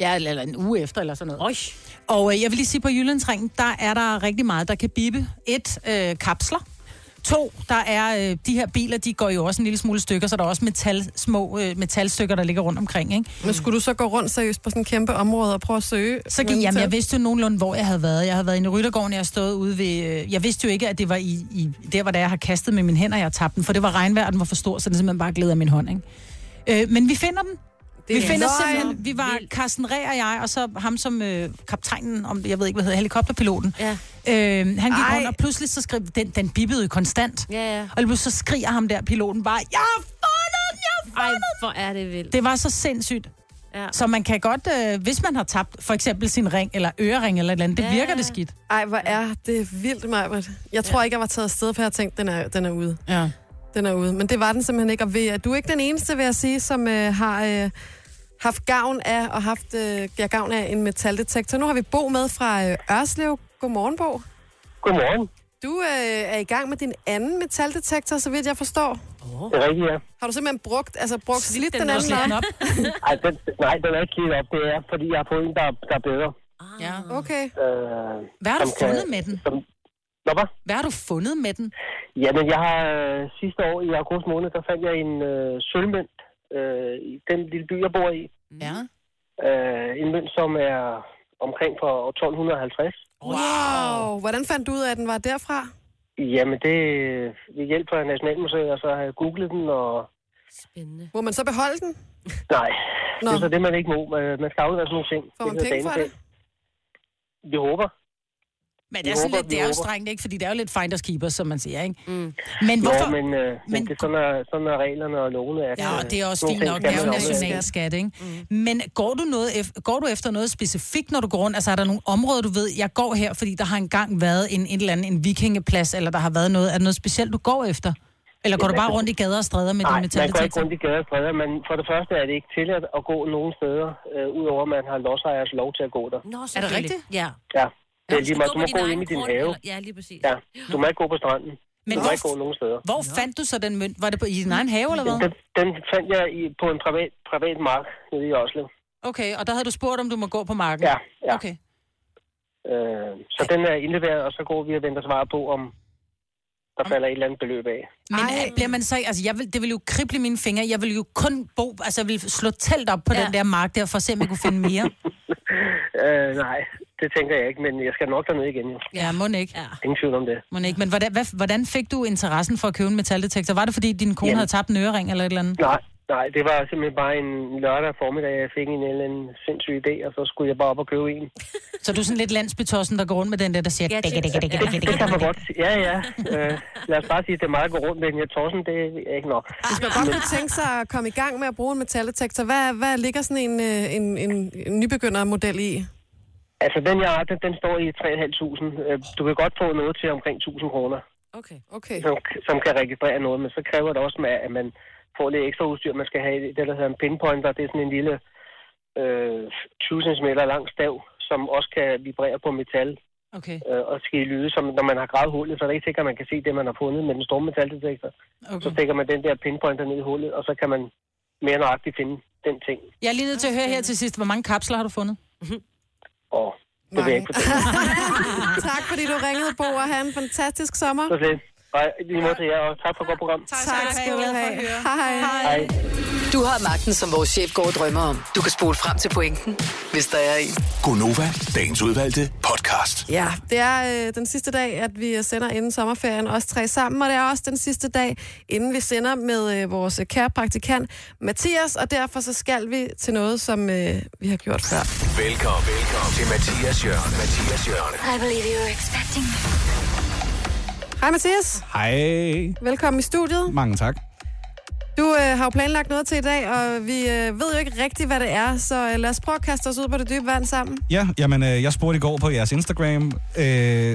B: Ja, eller eller en uge efter, eller sådan noget. Øj. Og øh, jeg vil lige sige, på Jyllandsringen, der er der rigtig meget, der kan bippe. Et, øh, kapsler. To, der er øh, de her biler, de går jo også en lille smule stykker, så der er også metal, små øh, metalstykker, der ligger rundt omkring. Ikke?
A: Men skulle du så gå rundt seriøst på sådan et kæmpe område og prøve at søge?
B: Så gik, jamen, jeg vidste jo nogenlunde, hvor jeg havde været. Jeg havde været inde i Ryttergården, jeg stod ude ved... Øh, jeg vidste jo ikke, at det var i, i der, hvor det er, jeg har kastet med mine hænder, jeg har tabt den, for det var regnvejr, og den var for stor, så den simpelthen bare gled af min hånd. Ikke? Øh, men vi finder den. Det vi
A: er
B: finder
A: løgn.
B: simpelthen, vi var Carsten Ræ og jeg, og så ham som øh, kaptajnen, om, jeg ved ikke, hvad hedder, helikopterpiloten. Ja. Øh, han gik
C: Ej.
B: Ej. rundt, og pludselig så skrev, den, den bippede jo konstant.
C: Ja, ja.
B: Og lige pludselig så skriger ham der, piloten bare, jeg har fundet den, jeg
C: har fundet Ej, hvor er det vildt.
B: Det var så sindssygt.
C: Ja.
B: Så man kan godt, øh, hvis man har tabt for eksempel sin ring, eller ørering eller et eller andet, det
A: Ja,
B: ja. virker det skidt.
A: Ej, hvor er det vildt, Majbert. Jeg tror ikke, jeg var taget afsted, for jeg tænkte, den er, den er ude.
B: Ja.
A: Den er ude. Men det var den simpelthen ikke. Og ved, at du er ikke den eneste, vil jeg sige, som øh, har øh, haft gavn af og haft øh, ja, gavn af en metaldetektor. Nu har vi Bo med fra øh, Ørslev. Godmorgen, Bo.
M: Godmorgen.
A: Du øh, er i gang med din anden metaldetektor, så vidt jeg forstår.
M: Det er rigtigt, ja.
A: Har du simpelthen brugt, altså brugt slidt,
M: den
A: den
M: og
A: anden
M: slidt den
A: op?
M: Ej, den, nej, den er ikke helt op. Det er, fordi jeg har fået en, der, der er bedre.
B: Ja.
A: Okay.
M: Øh,
B: Hvad har du
M: som
B: fundet med den?
M: Som, Nå, hvad?
B: Hvad har du fundet med den?
M: Jamen, jeg har øh, sidste år i august måned, der fandt jeg en øh, sølvmønt øh, i den lille by, jeg bor i.
B: Ja.
M: Øh, en mønt, som er omkring fra år 1250.
A: Wow. Hvordan fandt du ud af, at den var derfra?
M: Jamen, det er ved hjælp fra Nationalmuseet, og så har jeg googlet den, og
A: Må man så beholde den?
M: nej,
A: Nå.
M: det er så det, man ikke må. Man- Man skal aflevere sådan nogle ting.
A: Får man
M: hedder
A: penge for
M: danefæ. Vi håber.
B: Men det
M: Vi
B: er sådan
M: håber,
B: lidt,
M: vi
B: det er jo
M: håber.
B: strengt, ikke? Fordi det er jo lidt finders keepers, som man siger, ikke? Mm. Men hvorfor?
M: Jo, men, øh, men, men det er sådan, er, sådan er reglerne og lovene. At,
B: Ja, og det er også
M: øh,
B: fint
M: nogle
B: nok. Det
M: ting
B: er
M: skal man aflevere.
B: jo en nationalskat, ikke? Mm. Men går du, noget, ef- går du efter noget specifikt, når du går rundt? Altså, er der nogle områder, du ved, jeg går her, fordi der har engang været en, en eller anden en vikingeplads, eller der har været noget. Er der noget specielt, du går efter? Eller går
M: Jamen,
B: du bare
M: altså-
B: rundt i gader og stræder med din
M: Nej, man går ikke
B: metaldetektor?
M: rundt i gader og stræder, men for det første er det ikke tilladt at gå nogen steder, øh, udover at man har lodsejers lov til at gå der.
C: Nå,
B: Er det
C: selvfølgelig.
B: rigtigt?
C: Ja.
M: Ja, det
C: Ja,
M: er
C: du
M: lige
C: skal
M: meget.
C: gå
M: Du
C: på
M: må
C: din
M: gå
C: egen
M: ind i din
C: grund,
M: have.
C: eller- Ja, lige præcis.
M: Ja, du må ikke gå på stranden.
B: Men
M: du må
B: hvor-
M: ikke gå nogen steder.
B: Hvor fandt du så den mønt? Var det på, i din egen have, eller hvad?
M: Den, den fandt jeg i, på en privat, privat mark nede i Oslo.
B: Okay, og der havde du spurgt, om du må gå på marken?
M: Ja, ja.
B: Okay.
M: Øh, så den er indleveret, og så går vi og venter svar på, om der falder et eller andet beløb af.
B: Men Ej. bliver man så ikke- altså jeg vil, det vil jo krible mine fingre, jeg vil jo kun bo, altså jeg vil slå telt op på ja. den der mark der, for at se, om jeg kunne finde mere.
M: Øh, nej, det tænker jeg ikke, men jeg skal nok derned igen. jo.
B: Ja, må ikke. Ja.
M: Ingen tvivl om det.
B: Må ikke. Men hvordan, hvad, hvordan fik du interessen for at købe en metaldetektor? Var det, fordi din kone
M: Jamen.
B: havde tabt en ørering eller et eller andet?
M: Nej, nej, det var simpelthen bare en lørdag formiddag, jeg fik en eller anden sindssyg idé, og så skulle jeg bare op og købe en.
B: Så du er sådan lidt landsbytossen, der går rundt med den der, der siger... "Digga, digga, digga, digga,
M: Det
B: digga."
M: kan man godt sige. Ja, ja. Øh, lad os bare sige, at det er meget at gå rundt med den her torsen, det er ikke nok.
A: Hvis man godt kunne tænke sig at komme i gang med at bruge en metaldetektor, hvad, hvad ligger sådan en, øh, en, en, en nybegyndermodel i?
M: Altså, den jeg har, den, den står i 3.500. Øh, Du kan godt få noget til omkring 1.000 kroner,
A: Okay. okay.
M: som, som kan registrere noget, men så kræver det også, at man får lidt ekstra udstyr. Man skal have det, der hedder en pinpointer. Det er sådan en lille øh, 20 cm lang stav, som også kan vibrere på metal.
B: Okay.
M: øh, og skal lyde, som når man har gravet hullet, så er det ikke sikkert, at man kan se det, man har fundet med den store metaldetektor.
B: Okay.
M: Okay. Så stikker man den der pinpointer ned i hullet, og så kan man mere nøjagtigt finde den ting.
B: Jeg er lige nødt til at høre her til sidst, hvor mange kapsler har du fundet?
M: Og det vil jeg ikke fortælle.
A: tak fordi du ringede, Bo, og have en fantastisk sommer.
M: Så slet. Og lige måde til jer, og tak for et godt program.
A: Tak skal du have. Hej.
M: Hej.
H: Du har magten, som vores chef går og drømmer om. Du kan spole frem til pointen, hvis der er
A: Øh,
H: en.
L: Gonova, dagens udvalgte podcast.
A: Ja, det er øh, den sidste dag, at vi sender inden sommerferien os tre sammen, og det er også den sidste dag, inden vi sender med øh, vores kære praktikant Mathias, og derfor så skal vi til noget, som øh, vi har gjort før.
L: Velkommen, velkommen til Mathias Jørgen. Mathias Jørgen.
F: I believe you were expecting me.
A: Hej Mathias,
N: Hej.
A: velkommen i studiet.
N: Mange tak.
A: Du øh, har jo planlagt noget til i dag, og vi øh, ved jo ikke rigtigt, hvad det er, så øh, lad os prøve at kaste os ud på det dybe vand sammen.
N: Ja, jamen, øh, jeg spurgte i går på jeres Instagram. Øh,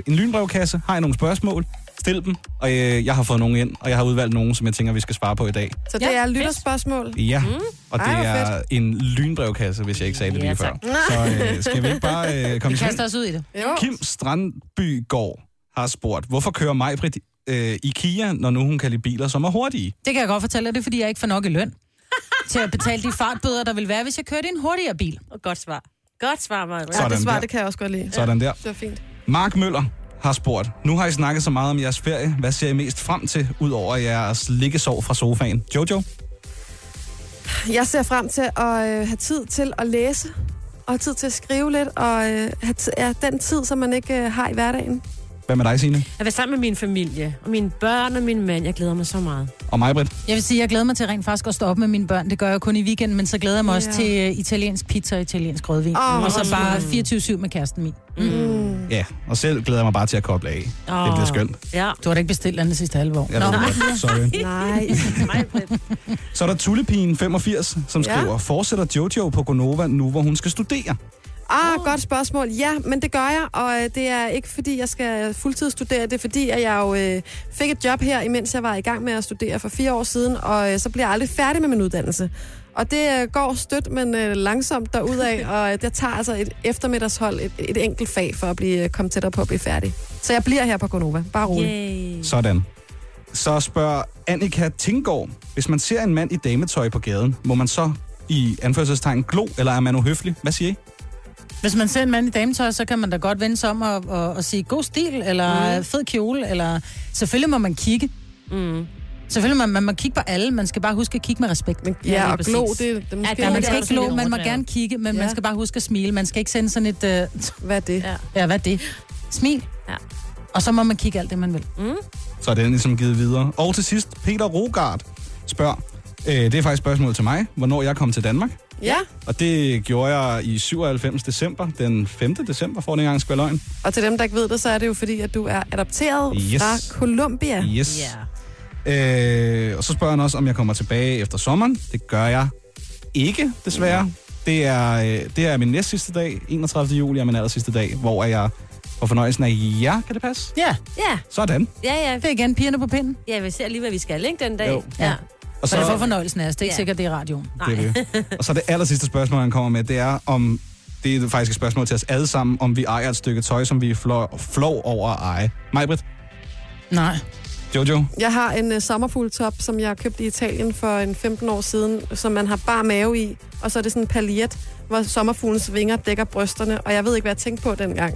N: en lynbrevkasse. Har I nogle spørgsmål? Stil dem. Og øh, jeg har fået nogle ind, og jeg har udvalgt nogle, som jeg tænker, vi skal svare på i dag.
A: Så det ja, er lytterspørgsmål.
N: Ja, mm. og det
A: Ej, hvor
N: er
A: fedt.
N: en lynbrevkasse, hvis jeg ikke sagde det
A: Ja,
N: lige før.
A: tak.
N: Så øh, skal vi ikke bare øh, komme
B: Vi
N: i sving?
B: kaster os ud i det.
A: Jo.
N: Kim Strandby Gård har spurgt, hvorfor kører Majbrit øh, i Kia, når nu hun kan lide biler, som er hurtige?
B: Det kan jeg godt fortælle dig, det er, fordi jeg ikke får nok i løn til at betale de fartbøder, der vil være, hvis jeg kørte i en hurtigere bil.
C: Og godt svar. Godt svar, Maja.
N: Sådan
A: det svar,
N: der.
A: det kan jeg også godt lide.
N: Sådan der.
A: Det var fint.
N: Mark Møller har spurgt, nu har I snakket så meget om jeres ferie. Hvad ser I mest frem til, udover jeres liggesov fra sofaen? Jojo?
A: Jeg ser frem til at øh, have tid til at læse, og have tid til at skrive lidt, og øh, have ti- ja, den tid, som man ikke øh, har i hverdagen.
N: Hvad med dig, Signe?
C: At være sammen med min familie, og mine børn og min mand. Jeg glæder mig så meget.
N: Og mig, Britt?
B: Jeg vil sige, jeg glæder mig til rent faktisk at stå op med mine børn. Det gør jeg kun i weekenden, men så glæder jeg mig også
C: Ja.
B: til uh, italiensk pizza og italiensk rødvin.
C: Åh,
B: og så
C: hvor
B: bare
C: smukt.
B: 24-7 med kæresten min.
N: Mm. Ja, og selv glæder jeg mig bare til at koble af. Oh. Det bliver skønt.
C: Ja.
B: Du har da ikke bestilt andet sidste halve år.
N: Jeg ved det godt. Sorry.
A: Nej.
N: Så er der Tullepigen 85, som
A: Ja.
N: skriver, fortsætter Jojo på Gonova nu, hvor hun skal studere?
A: Ah, oh. godt spørgsmål. Ja, men det gør jeg, og øh, det er ikke fordi, jeg skal fuldtidsstudere. Det er fordi, at jeg jo øh, fik et job her, imens jeg var i gang med at studere for fire år siden, og øh, så bliver jeg aldrig færdig med min uddannelse. Og det øh, går stødt, men øh, langsomt derudad, og øh, jeg tager altså et eftermiddagshold, et, et enkelt fag, for at blive, øh, komme tættere på at blive færdig. Så jeg bliver her på Gonova. Bare rolig.
N: Sådan. Så spørger Annika Tinggaard, hvis man ser en mand i dametøj på gaden, må man så i anførselstegn glo, eller er man uhøflig? Hvad siger I?
B: Hvis man ser en mand i dametøj, så kan man da godt vende sig om og, og, og sige, god stil, eller mm. fed kjole, eller... Selvfølgelig må man kigge. Mm. Selvfølgelig må man, man må kigge på alle, man skal bare huske at kigge med respekt. Men,
A: ja, og glo, det- det er måske
B: ja, man
A: lidt
B: skal
A: også
B: ikke glo,
A: lidt
B: man må
A: overdrevet.
B: gerne kigge, men ja.
A: Ja.
B: man skal bare huske at smile. Man skal ikke sende sådan et... Øh,
A: hvad er det?
B: Ja. ja, hvad er det? Smil. Ja. Og så må man kigge alt det, man vil. Mm.
N: Så er den ligesom givet videre. Og til sidst, Peter Rogard spørger, øh, det er faktisk spørgsmålet til mig, hvornår jeg kom til Danmark.
A: Ja,
N: Og det gjorde jeg i 97. december, den 5. december, for den gang skal være løgn.
A: og til dem, der ikke ved det, så er det jo fordi, at du er adopteret
N: Yes.
A: fra Colombia.
N: Yes. Øh, og så spørger han også, om jeg kommer tilbage efter sommeren. Det gør jeg ikke, desværre. Det er, øh, det er min næst sidste dag, 31. juli er min aller sidste dag, hvor jeg får fornøjelsen af jer. Kan det passe?
B: Ja.
C: Ja.
N: Sådan.
C: Ja, ja. Det
B: er igen pigerne på pinden.
C: Ja, vi ser lige, hvad vi skal, ikke, den dag?
N: Jo.
C: Ja.
N: Og
B: Og
N: så-
B: så, så får fornøjelsen af os. Det er ikke
C: Ja.
B: ja. sikkert, det er i radioen.
N: Det er det. Og så det aller sidste spørgsmål, han kommer med, det er om... Det er faktisk et spørgsmål til os alle sammen, om vi ejer et stykke tøj, som vi er flår, flov over at eje. Majbrit?
B: Nej.
N: Jojo?
A: Jeg har en uh, sommerfugltop, som jeg købte i Italien for en 15 år siden, som man har bare mave i, og så er det sådan en paljet, hvor sommerfuglens vinger dækker brysterne, og jeg ved ikke, hvad jeg tænkte på dengang.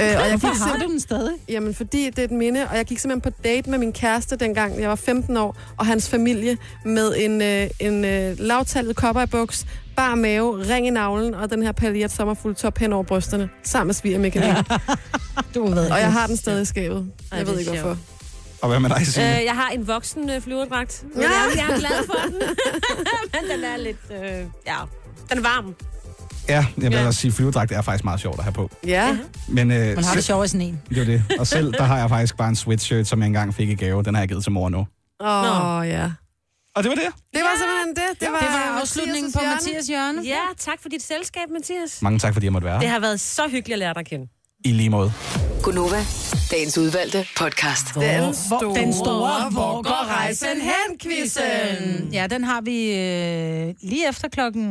A: Øh, og jeg
B: Hvorfor
A: gik
B: har
A: simp-
B: du den stadig?
A: Jamen, fordi det er et minde, og jeg gik simpelthen på date med min kæreste dengang, jeg var 15 år, og hans familie med en, øh, en øh, lavtallet cowboybuks, bar mave, ring i navlen og den her paljet sommerfugltop hen over brysterne, sammen med svigermekanik.
B: du ved
A: Og jeg har den stadig i skabet.
C: Ej,
A: Jeg
C: det
A: ved
C: er
A: ikke,
C: sjovt.
A: hvorfor.
N: Og hvad med dig, Signe?
C: Øh, jeg har en voksen øh, flyverdragt.
A: Ja.
C: Ja. Jeg, jeg er glad for den. Men den er lidt... Øh, ja, den er varm.
N: Ja, jeg vil ja. sige, flyvedragt er faktisk meget sjovt at have på.
A: Ja.
N: Men, øh,
B: Man har det
N: selv-
B: sjovt i sådan en.
N: Det er jo det. Og selv, der har jeg faktisk bare en sweatshirt, som jeg engang fik i gave. Den har jeg givet til mor nu.
A: Åh, oh, ja.
N: Og det var det.
A: Det var simpelthen det. Det var,
C: Det var
A: Mathias'
C: afslutningen
B: på
A: hjørne.
B: Mathias Jørgen.
C: Ja, tak for dit selskab, Mathias.
N: Mange tak, fordi jeg måtte være
C: Det
N: her.
C: har været så hyggeligt at lære dig at kende.
N: I lige måde.
H: Gunova, dagens udvalgte podcast.
B: Den store, den store
A: Hvor går rejsen hen, quizzen?
B: Ja, den har vi øh, lige efter klokken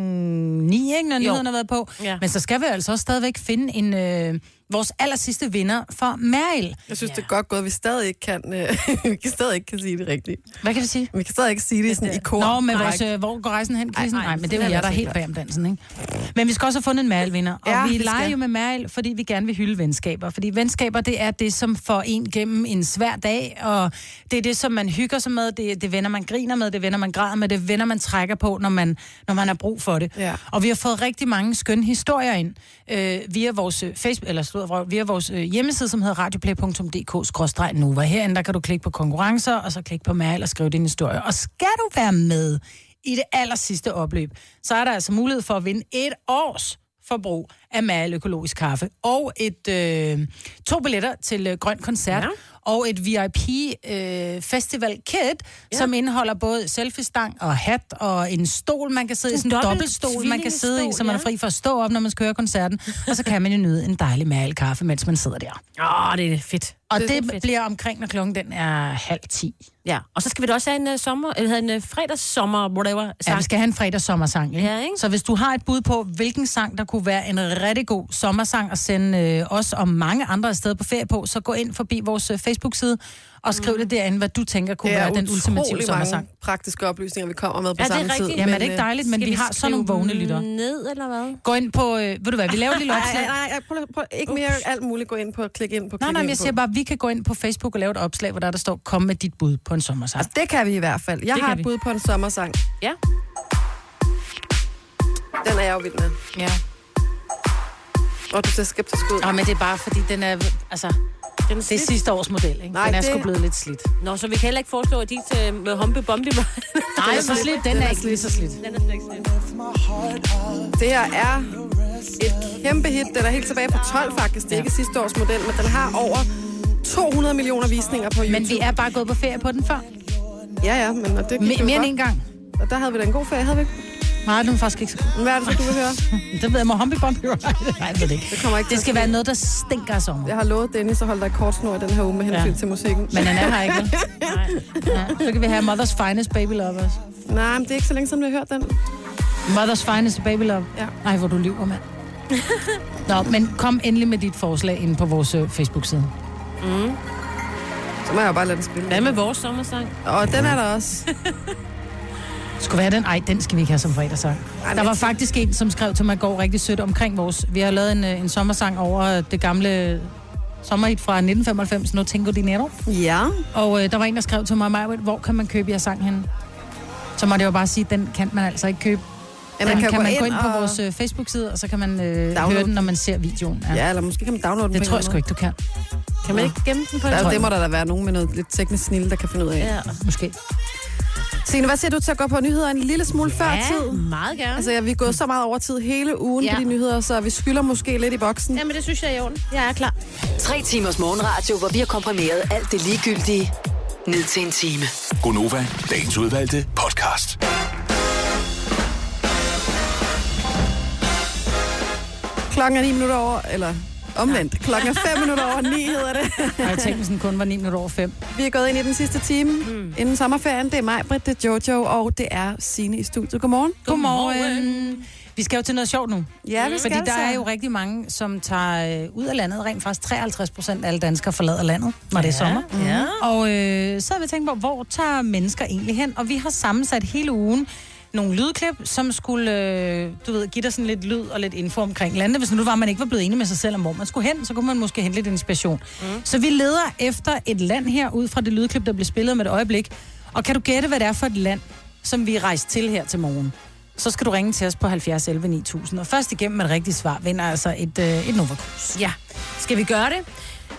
B: 9, ikke, når nyhederne har været på.
C: Ja.
B: Men så skal vi altså også stadigvæk finde en, øh, vores aller sidste vinder for Meryl.
A: Jeg synes, det er godt gået, at vi stadig ikke kan, øh, vi kan stadig ikke kan sige det rigtigt.
B: Hvad kan vi sige?
A: Vi kan stadig ikke sige det sådan i kor.
B: Nå, med
A: Nej.
B: vores, øh, hvor går rejsen hen?
A: Ej, ej,
B: Ej, nej, men det
A: sådan
B: er
A: er
B: jo jer,
A: det
B: der er helt
A: sikkert.
B: bag om dansen, ikke? Men vi skal også have fundet en Meryl-vinder. Og
A: Ja,
B: ja, vi
A: vi
B: leger
A: skal.
B: jo med Meryl, fordi vi gerne vil hylde venskaber. Fordi venskaber, det er det, som får en gennem en svær dag. Og det er det, som man hygger sig med. Det, det venner, man griner med. Det venner, man græder med. Det venner, man trækker på, når man, når man har brug for det.
A: Ja.
B: Og vi har fået rigtig mange skønne historier ind øh, via vores, øh, Facebook, eller, slud og vrøvl, via vores øh, hjemmeside, som hedder radioplay.dk-nova. Herinde der kan du klikke på konkurrencer, og så klikke på Meryl og skrive din historie. Og skal du være med i det aller sidste opløb, så er der altså mulighed for at vinde et års forbrug af Mal økologisk kaffe, og et, øh, to billetter til øh, Grøn Koncert, ja. og et VIP-festival øh, festival kit, ja. som indeholder både selfie-stang og hat, og en stol, man kan sidde i,
C: En
B: sådan en
C: dobbelt
B: dobbeltstol, man kan sidde i, så man er
C: tvillingestol,
B: fri for at stå op, når man skal høre koncerten, og så kan man jo nyde en dejlig Mal kaffe, mens man sidder der.
C: Åh, oh, det er fedt.
B: Og det, det bliver omkring, når klokken den er halv ti.
C: Ja, og så skal vi da også have en uh, sommer, eller have en uh, fredagssommer, whatever.
B: Ja,
C: sang.
B: vi skal have en fredagssommersang, ikke? Ja, ikke? Så hvis du har et bud på, hvilken sang, der kunne være en rigtig god sommersang at sende øh, os og mange andre steder på ferie på, så gå ind forbi vores øh, Facebook-side og skriv mm. det derinde, hvad du tænker kunne
A: Det er
B: være den
A: utrolig
B: ultimative
A: mange
B: sommersang.
A: praktiske oplysninger, vi kommer med på
B: Ja, det er
A: samme
B: rigtigt.
A: tid.
B: Jamen, er det ikke
A: øh,
B: dejligt? Men
A: skal
B: vi har sådan nogle
A: skrive
B: vågne lyttere.
A: den
C: Ned, eller hvad?
B: Gå ind på, øh, ved du hvad, vi laver et lille
A: Ej,
B: opslag.
A: Nej, nej, prøv, prøv, ikke mere alt muligt. Gå ind på og klik ind på.
B: Nej,
A: klik
B: nej, men
A: ind
B: jeg
A: på.
B: siger bare, at vi kan gå ind på Facebook og lave et opslag, hvor der, der står, kom med dit bud på en sommersang.
A: Altså, det kan vi i hvert fald. Jeg
B: Det
A: har et
B: kan vi.
A: bud på en sommersang.
C: Ja.
A: Den er jeg jo vild med.
B: Ja.
A: Og du ser skeptisk ud.
B: Nå, men det er bare, fordi den er, altså...
C: Det Den
B: Det er sidste års model, ikke? Nej, den er
C: det-
B: sgu blevet lidt slidt.
C: Nå, så vi kan heller ikke foreslå, at de til, med Hompe Bombe var...
B: Nej, så slidt. Den er ikke lige så slidt.
C: Den er slet ikke slidt.
A: Det her er et kæmpe hit. Den er helt tilbage på 12 faktisk. Det er ikke sidste års model, men den har over 200 millioner visninger på YouTube. Men vi
B: er bare gået på ferie på den før.
A: Ja, ja, men og det
B: Me-
A: gik jo
B: mere end
A: godt.
B: en gang.
A: Og der havde vi da en god ferie, havde vi ikke?
B: Nej, den er faktisk ikke så god.
A: Hvad er det, så du vil høre?
B: det ved jeg, må Humpy Bumpy Ride. Nej, jeg ved det ikke. Det,
A: kommer ikke
B: det skal være noget, der stinker som.
A: Jeg har lovet Dennis at holde dig i kortsnor i den her uge med hensyn ja. til musikken.
B: Men han er her ikke, vel? Ja, så kan vi have Mother's Finest Baby Lovers.
A: Nej, men det er ikke så længe, som vi har hørt den.
B: Mother's Finest Baby Love.
A: Ja.
B: Nej, hvor du lyver, mand. Nå, men kom endelig med dit forslag ind på vores øh, Facebook-side.
C: Mm.
A: Så må jeg jo bare lade den spille.
C: Hvad med vores sommersang?
A: Og den er der også.
B: Skulle være den? Ej, den skal vi ikke have som fredagssang. Der var faktisk en, som skrev til mig i går rigtig sødt omkring vores... Vi har lavet en, øh, en sommersang over øh, det gamle sommerhit fra 1995, No Tengo Dinero.
A: Ja.
B: Og øh, der var en, der skrev til mig, Maja, hvor kan man købe jeres sang henne? Så måtte jeg jo bare sige, den kan man altså ikke købe.
A: Ja,
B: Ja,
A: man
B: man
A: kan
B: kan,
A: gå
B: kan man gå
A: ind
B: ind, på
A: og-
B: vores øh, Facebook-side, og så kan man øh, høre den, når man ser videoen.
A: Ja, eller måske kan man downloade den
B: Det
A: på en
B: tror jeg
A: eller
B: sgu
A: anden
B: ikke, du kan.
C: Kan man ikke gemme den på en
A: der,
B: måde?
A: Det må der da være nogen med noget lidt teknisk snille, der kan finde ud af.
C: Ja,
B: måske.
A: Signe, hvad siger du til at gå på nyheder en lille smule før
C: Ja,
A: tid?
C: meget gerne.
A: Altså, ja, vi er gået så meget over tid hele ugen
C: Ja.
A: ja. på de nyheder, så vi skylder måske lidt i boksen.
C: Jamen, det synes jeg er i orden. Jeg er klar.
H: Tre timers morgenradio, hvor vi har komprimeret alt det ligegyldige ned til en time.
L: Gonova, dagens udvalgte podcast.
A: Klokken er 9 minutter over, eller omvendt. Klokken er 5 minutter over 9 hedder det.
B: Og jeg tænkte, sådan kun var 9 minutter over 5.
A: Vi er gået ind i den sidste time mm. inden sommerferien. Det er mig, Britt, det er Jojo, og det er Sine i studiet. Godmorgen.
B: Godmorgen. Vi skal jo til noget sjovt nu.
A: Ja, vi skal
B: Fordi der
A: altså.
B: er jo rigtig mange, som tager øh, ud af landet. Rent faktisk 53 procent af alle danskere forlader landet, når det er
C: Ja,
B: sommer.
C: ja.
B: Og øh, så har vi tænkt på, hvor tager mennesker egentlig hen? Og vi har sammensat hele ugen nogle lydklip, som skulle øh, du ved, give dig sådan lidt lyd og lidt info omkring landet. Hvis nu var, man ikke var blevet enig med sig selv om, hvor man skulle hen, så kunne man måske hente lidt inspiration. Mm. Så vi leder efter et land her, ud fra det lydklip, der blev spillet med et øjeblik. Og kan du gætte, hvad det er for et land, som vi er rejst til her til morgen? Så skal du ringe til os på 70 11 9000. Og først igennem et rigtigt svar vinder altså et, øh, et Novakrus.
C: Ja. Skal vi gøre det?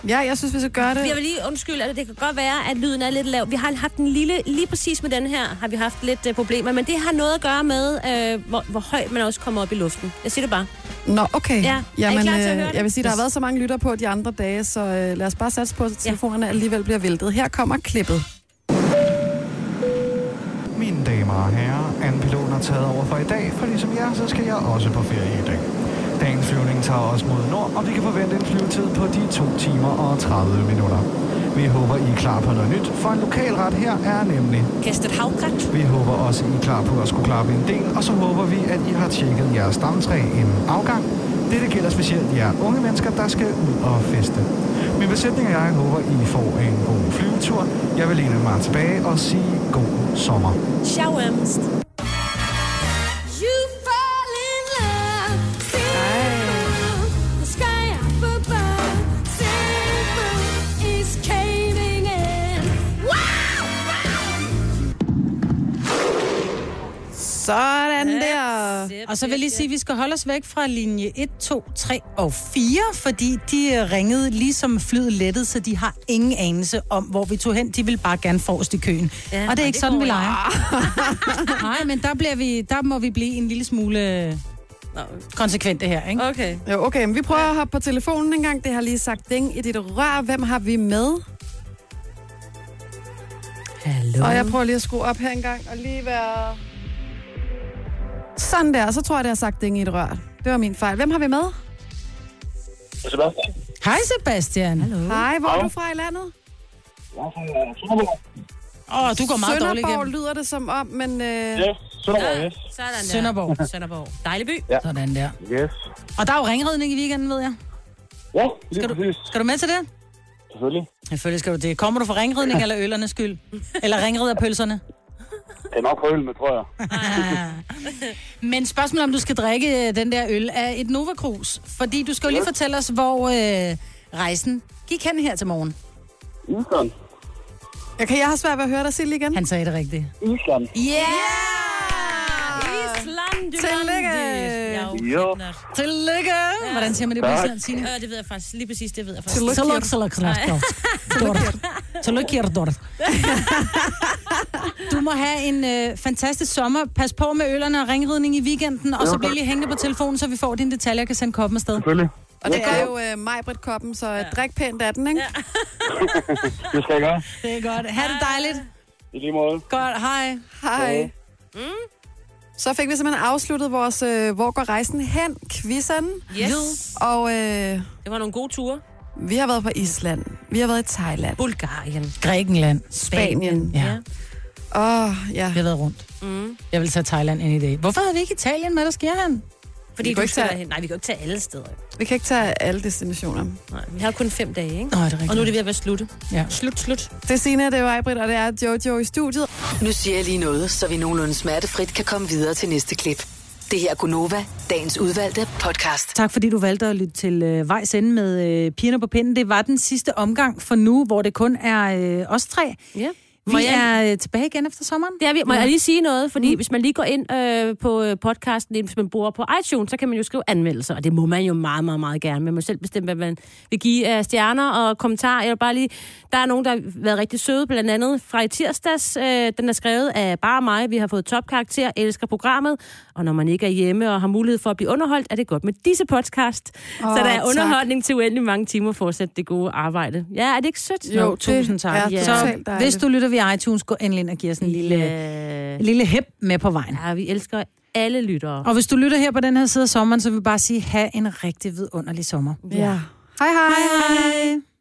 A: Ja, jeg synes, vi skal gøre det.
C: Jeg vil lige undskylde, at det kan godt være, at lyden er lidt lav. Vi har haft en lille, lige præcis med den her, har vi haft lidt øh, problemer, men det har noget at gøre med, øh, hvor, hvor højt man også kommer op i luften. Jeg siger det bare.
A: Nå, okay.
C: Ja. Er I
A: Jamen,
C: klar til at
A: øh,
C: høre det?
A: jeg vil sige, der har
C: Yes.
A: været så mange lytter på de andre dage, så øh, lad os bare satse på, at telefonerne alligevel bliver væltet. Her kommer klippet.
O: Mine damer og herrer, anden har taget over for i dag, for ligesom jer, så skal jeg også på ferie i dag. Dagens flyvning tager os mod nord, og vi kan forvente en flyvetid på de 2 timer og 30 minutter. Vi håber, I er klar på noget nyt, for en lokalret her er nemlig...
C: Kastet havgræt.
O: Vi håber også, I er klar på at skulle klappe en del, og så håber vi, at I har tjekket jeres stamtræ inden afgang. Dette gælder specielt jer unge mennesker, der skal ud og feste. Min besætning og jeg håber, I får en god flyvetur. Jeg vil læne mig tilbage og sige god sommer.
C: Ciao, Ernst.
P: You fall in love. Silver, the sky up above. Silver is caving in. Wow!
A: Sådan der.
B: Og så vil jeg lige sige, at vi skal holde os væk fra linje 1, 2, 3 og 4, fordi de øh, ringede ligesom flyet lettede, så de har ingen anelse om, hvor vi tog hen. De vil bare gerne forrest i køen. Ja, og det er ikke det sådan, vi leger. Nej, men der, bliver vi, der må vi blive en lille smule øh, konsekvente her, ikke?
C: Okay.
A: Jo, okay, men vi prøver at hoppe på telefonen en gang. Det har lige sagt ding i dit rør. Hvem har vi med?
B: Hallo.
A: Og jeg prøver lige at skrue op her en gang og lige være... Sådan der, så tror jeg, det har sagt ding i et rør. Det var min fejl. Hvem har vi med?
J: Sebastian.
B: Hej Sebastian. Hallo.
A: Hej, hvor er du fra i landet?
B: Åh, du går meget dårligt
A: Sønderborg
B: igennem.
A: lyder det som om, men... Øh...
J: Yes, Sønderborg, yes.
C: Sådan der.
B: Sønderborg.
C: Sønderborg. Dejlig by.
J: Ja.
B: Sådan der.
J: Yes.
B: Og der er jo ringredning i weekenden, ved jeg.
J: Ja,
B: lige skal du, Skal du med til det?
J: Selvfølgelig.
B: Selvfølgelig skal du det. Kommer du for ringridning eller ølernes skyld? Eller ringriderpølserne?
J: Det er nok hølende, tror jeg.
B: Men spørgsmålet er, om du skal drikke øh, den der øl af et Nova Cruz. Fordi du skal jo lige fortælle os, hvor øh, rejsen gik hen her til morgen.
J: Island.
A: Jeg kan jeg har svært ved at høre dig, Silje, igen.
B: Han sagde det rigtigt.
J: Island.
B: Yeah!
A: Island, Tillykke!
J: Jo.
B: Tillykke! Hvordan siger man det på
J: Tak.
B: Island, Signe?
C: Øh, det ved jeg faktisk. Lige præcis, det ved jeg faktisk.
B: Tillykke, tillykke, tillykke, tillykke. Tillykke, Hjerdort. Du må have en øh, fantastisk sommer. Pas på med øllerne og ringridning i weekenden, og
A: Jo,
B: så
A: tak.
B: bliver lige hængende på telefonen, så vi får dine detaljer og kan sende koppen afsted.
M: Selvfølgelig.
A: Og det er jo øh, majbrit koppen så ja. drik pænt af den, ikke? Ja.
M: Det skal jeg gøre.
B: Det er godt. Ha' det dejligt.
M: I lige måde.
B: Godt, hej.
A: Hej. Mm. Så fik vi simpelthen afsluttet vores øh, Hvor går rejsen hen? Quizzeren.
C: Yes.
A: Og øh,
C: Det var nogle gode ture.
A: vi har været på Island. Vi har været i Thailand.
C: Bulgarien.
B: Grækenland.
A: Spanien.
B: Ja.
A: Åh, oh, ja.
B: Jeg har været rundt.
C: Mm.
B: Jeg vil tage Thailand ind i dag. Hvorfor havde vi ikke Italien med, der sker han?
C: Fordi
A: Vi kan
C: vi du
A: ikke
C: skal
A: tage-
C: derhen. Nej, vi kan jo ikke tage alle steder.
A: Vi kan ikke tage alle destinationer.
C: Nej, vi har kun fem dage, ikke?
B: Nå, er det rigtigt.
C: Og nu er det ved at være slutte.
B: Ja.
C: Slut, slut.
A: Det er Signe, det er mig, Britt, og det er Jojo i studiet.
H: Nu siger jeg lige noget, så vi nogenlunde smertefrit kan komme videre til næste klip. Det her er Gunova, dagens udvalgte podcast.
B: Tak fordi du valgte at lytte til øh, Vejs Ende med øh, Pigerne på Pinden. Det var den sidste omgang for nu, hvor det kun er øh, os tre.
C: Ja.
B: Vi
C: Må jeg-
B: er øh, tilbage igen efter sommeren.
C: Det er vi. Må jeg lige sige noget? Fordi mm. hvis man lige går ind øh, på øh, podcasten, hvis man bruger på iTunes, så kan man jo skrive anmeldelser, og det må man jo meget, meget, meget gerne. Man må selv bestemme, hvad man vil give af stjerner og kommentarer. Jeg vil bare lige... Der er nogen, der har været rigtig søde, blandt andet fra i tirsdags. Øh, den er skrevet af bare mig. Vi har fået topkarakter, elsker programmet, og når man ikke er hjemme og har mulighed for at blive underholdt, er det godt med disse podcast. Oh,
A: Åh,
C: så der er
A: tak.
C: underholdning til uendelig mange timer for at sætte det gode arbejde. Ja, er det ikke sødt?
B: Jo, jo tusind tak.
C: Ja.
B: Så hvis du lytter via iTunes, gå endelig ind og giv os en lille, en lille hæb med på vejen.
C: Ja, vi elsker alle lyttere.
B: Og hvis du lytter her på den her side af sommeren, så vil jeg bare sige, have en rigtig vidunderlig sommer.
A: Ja. Hej hej.
B: hej.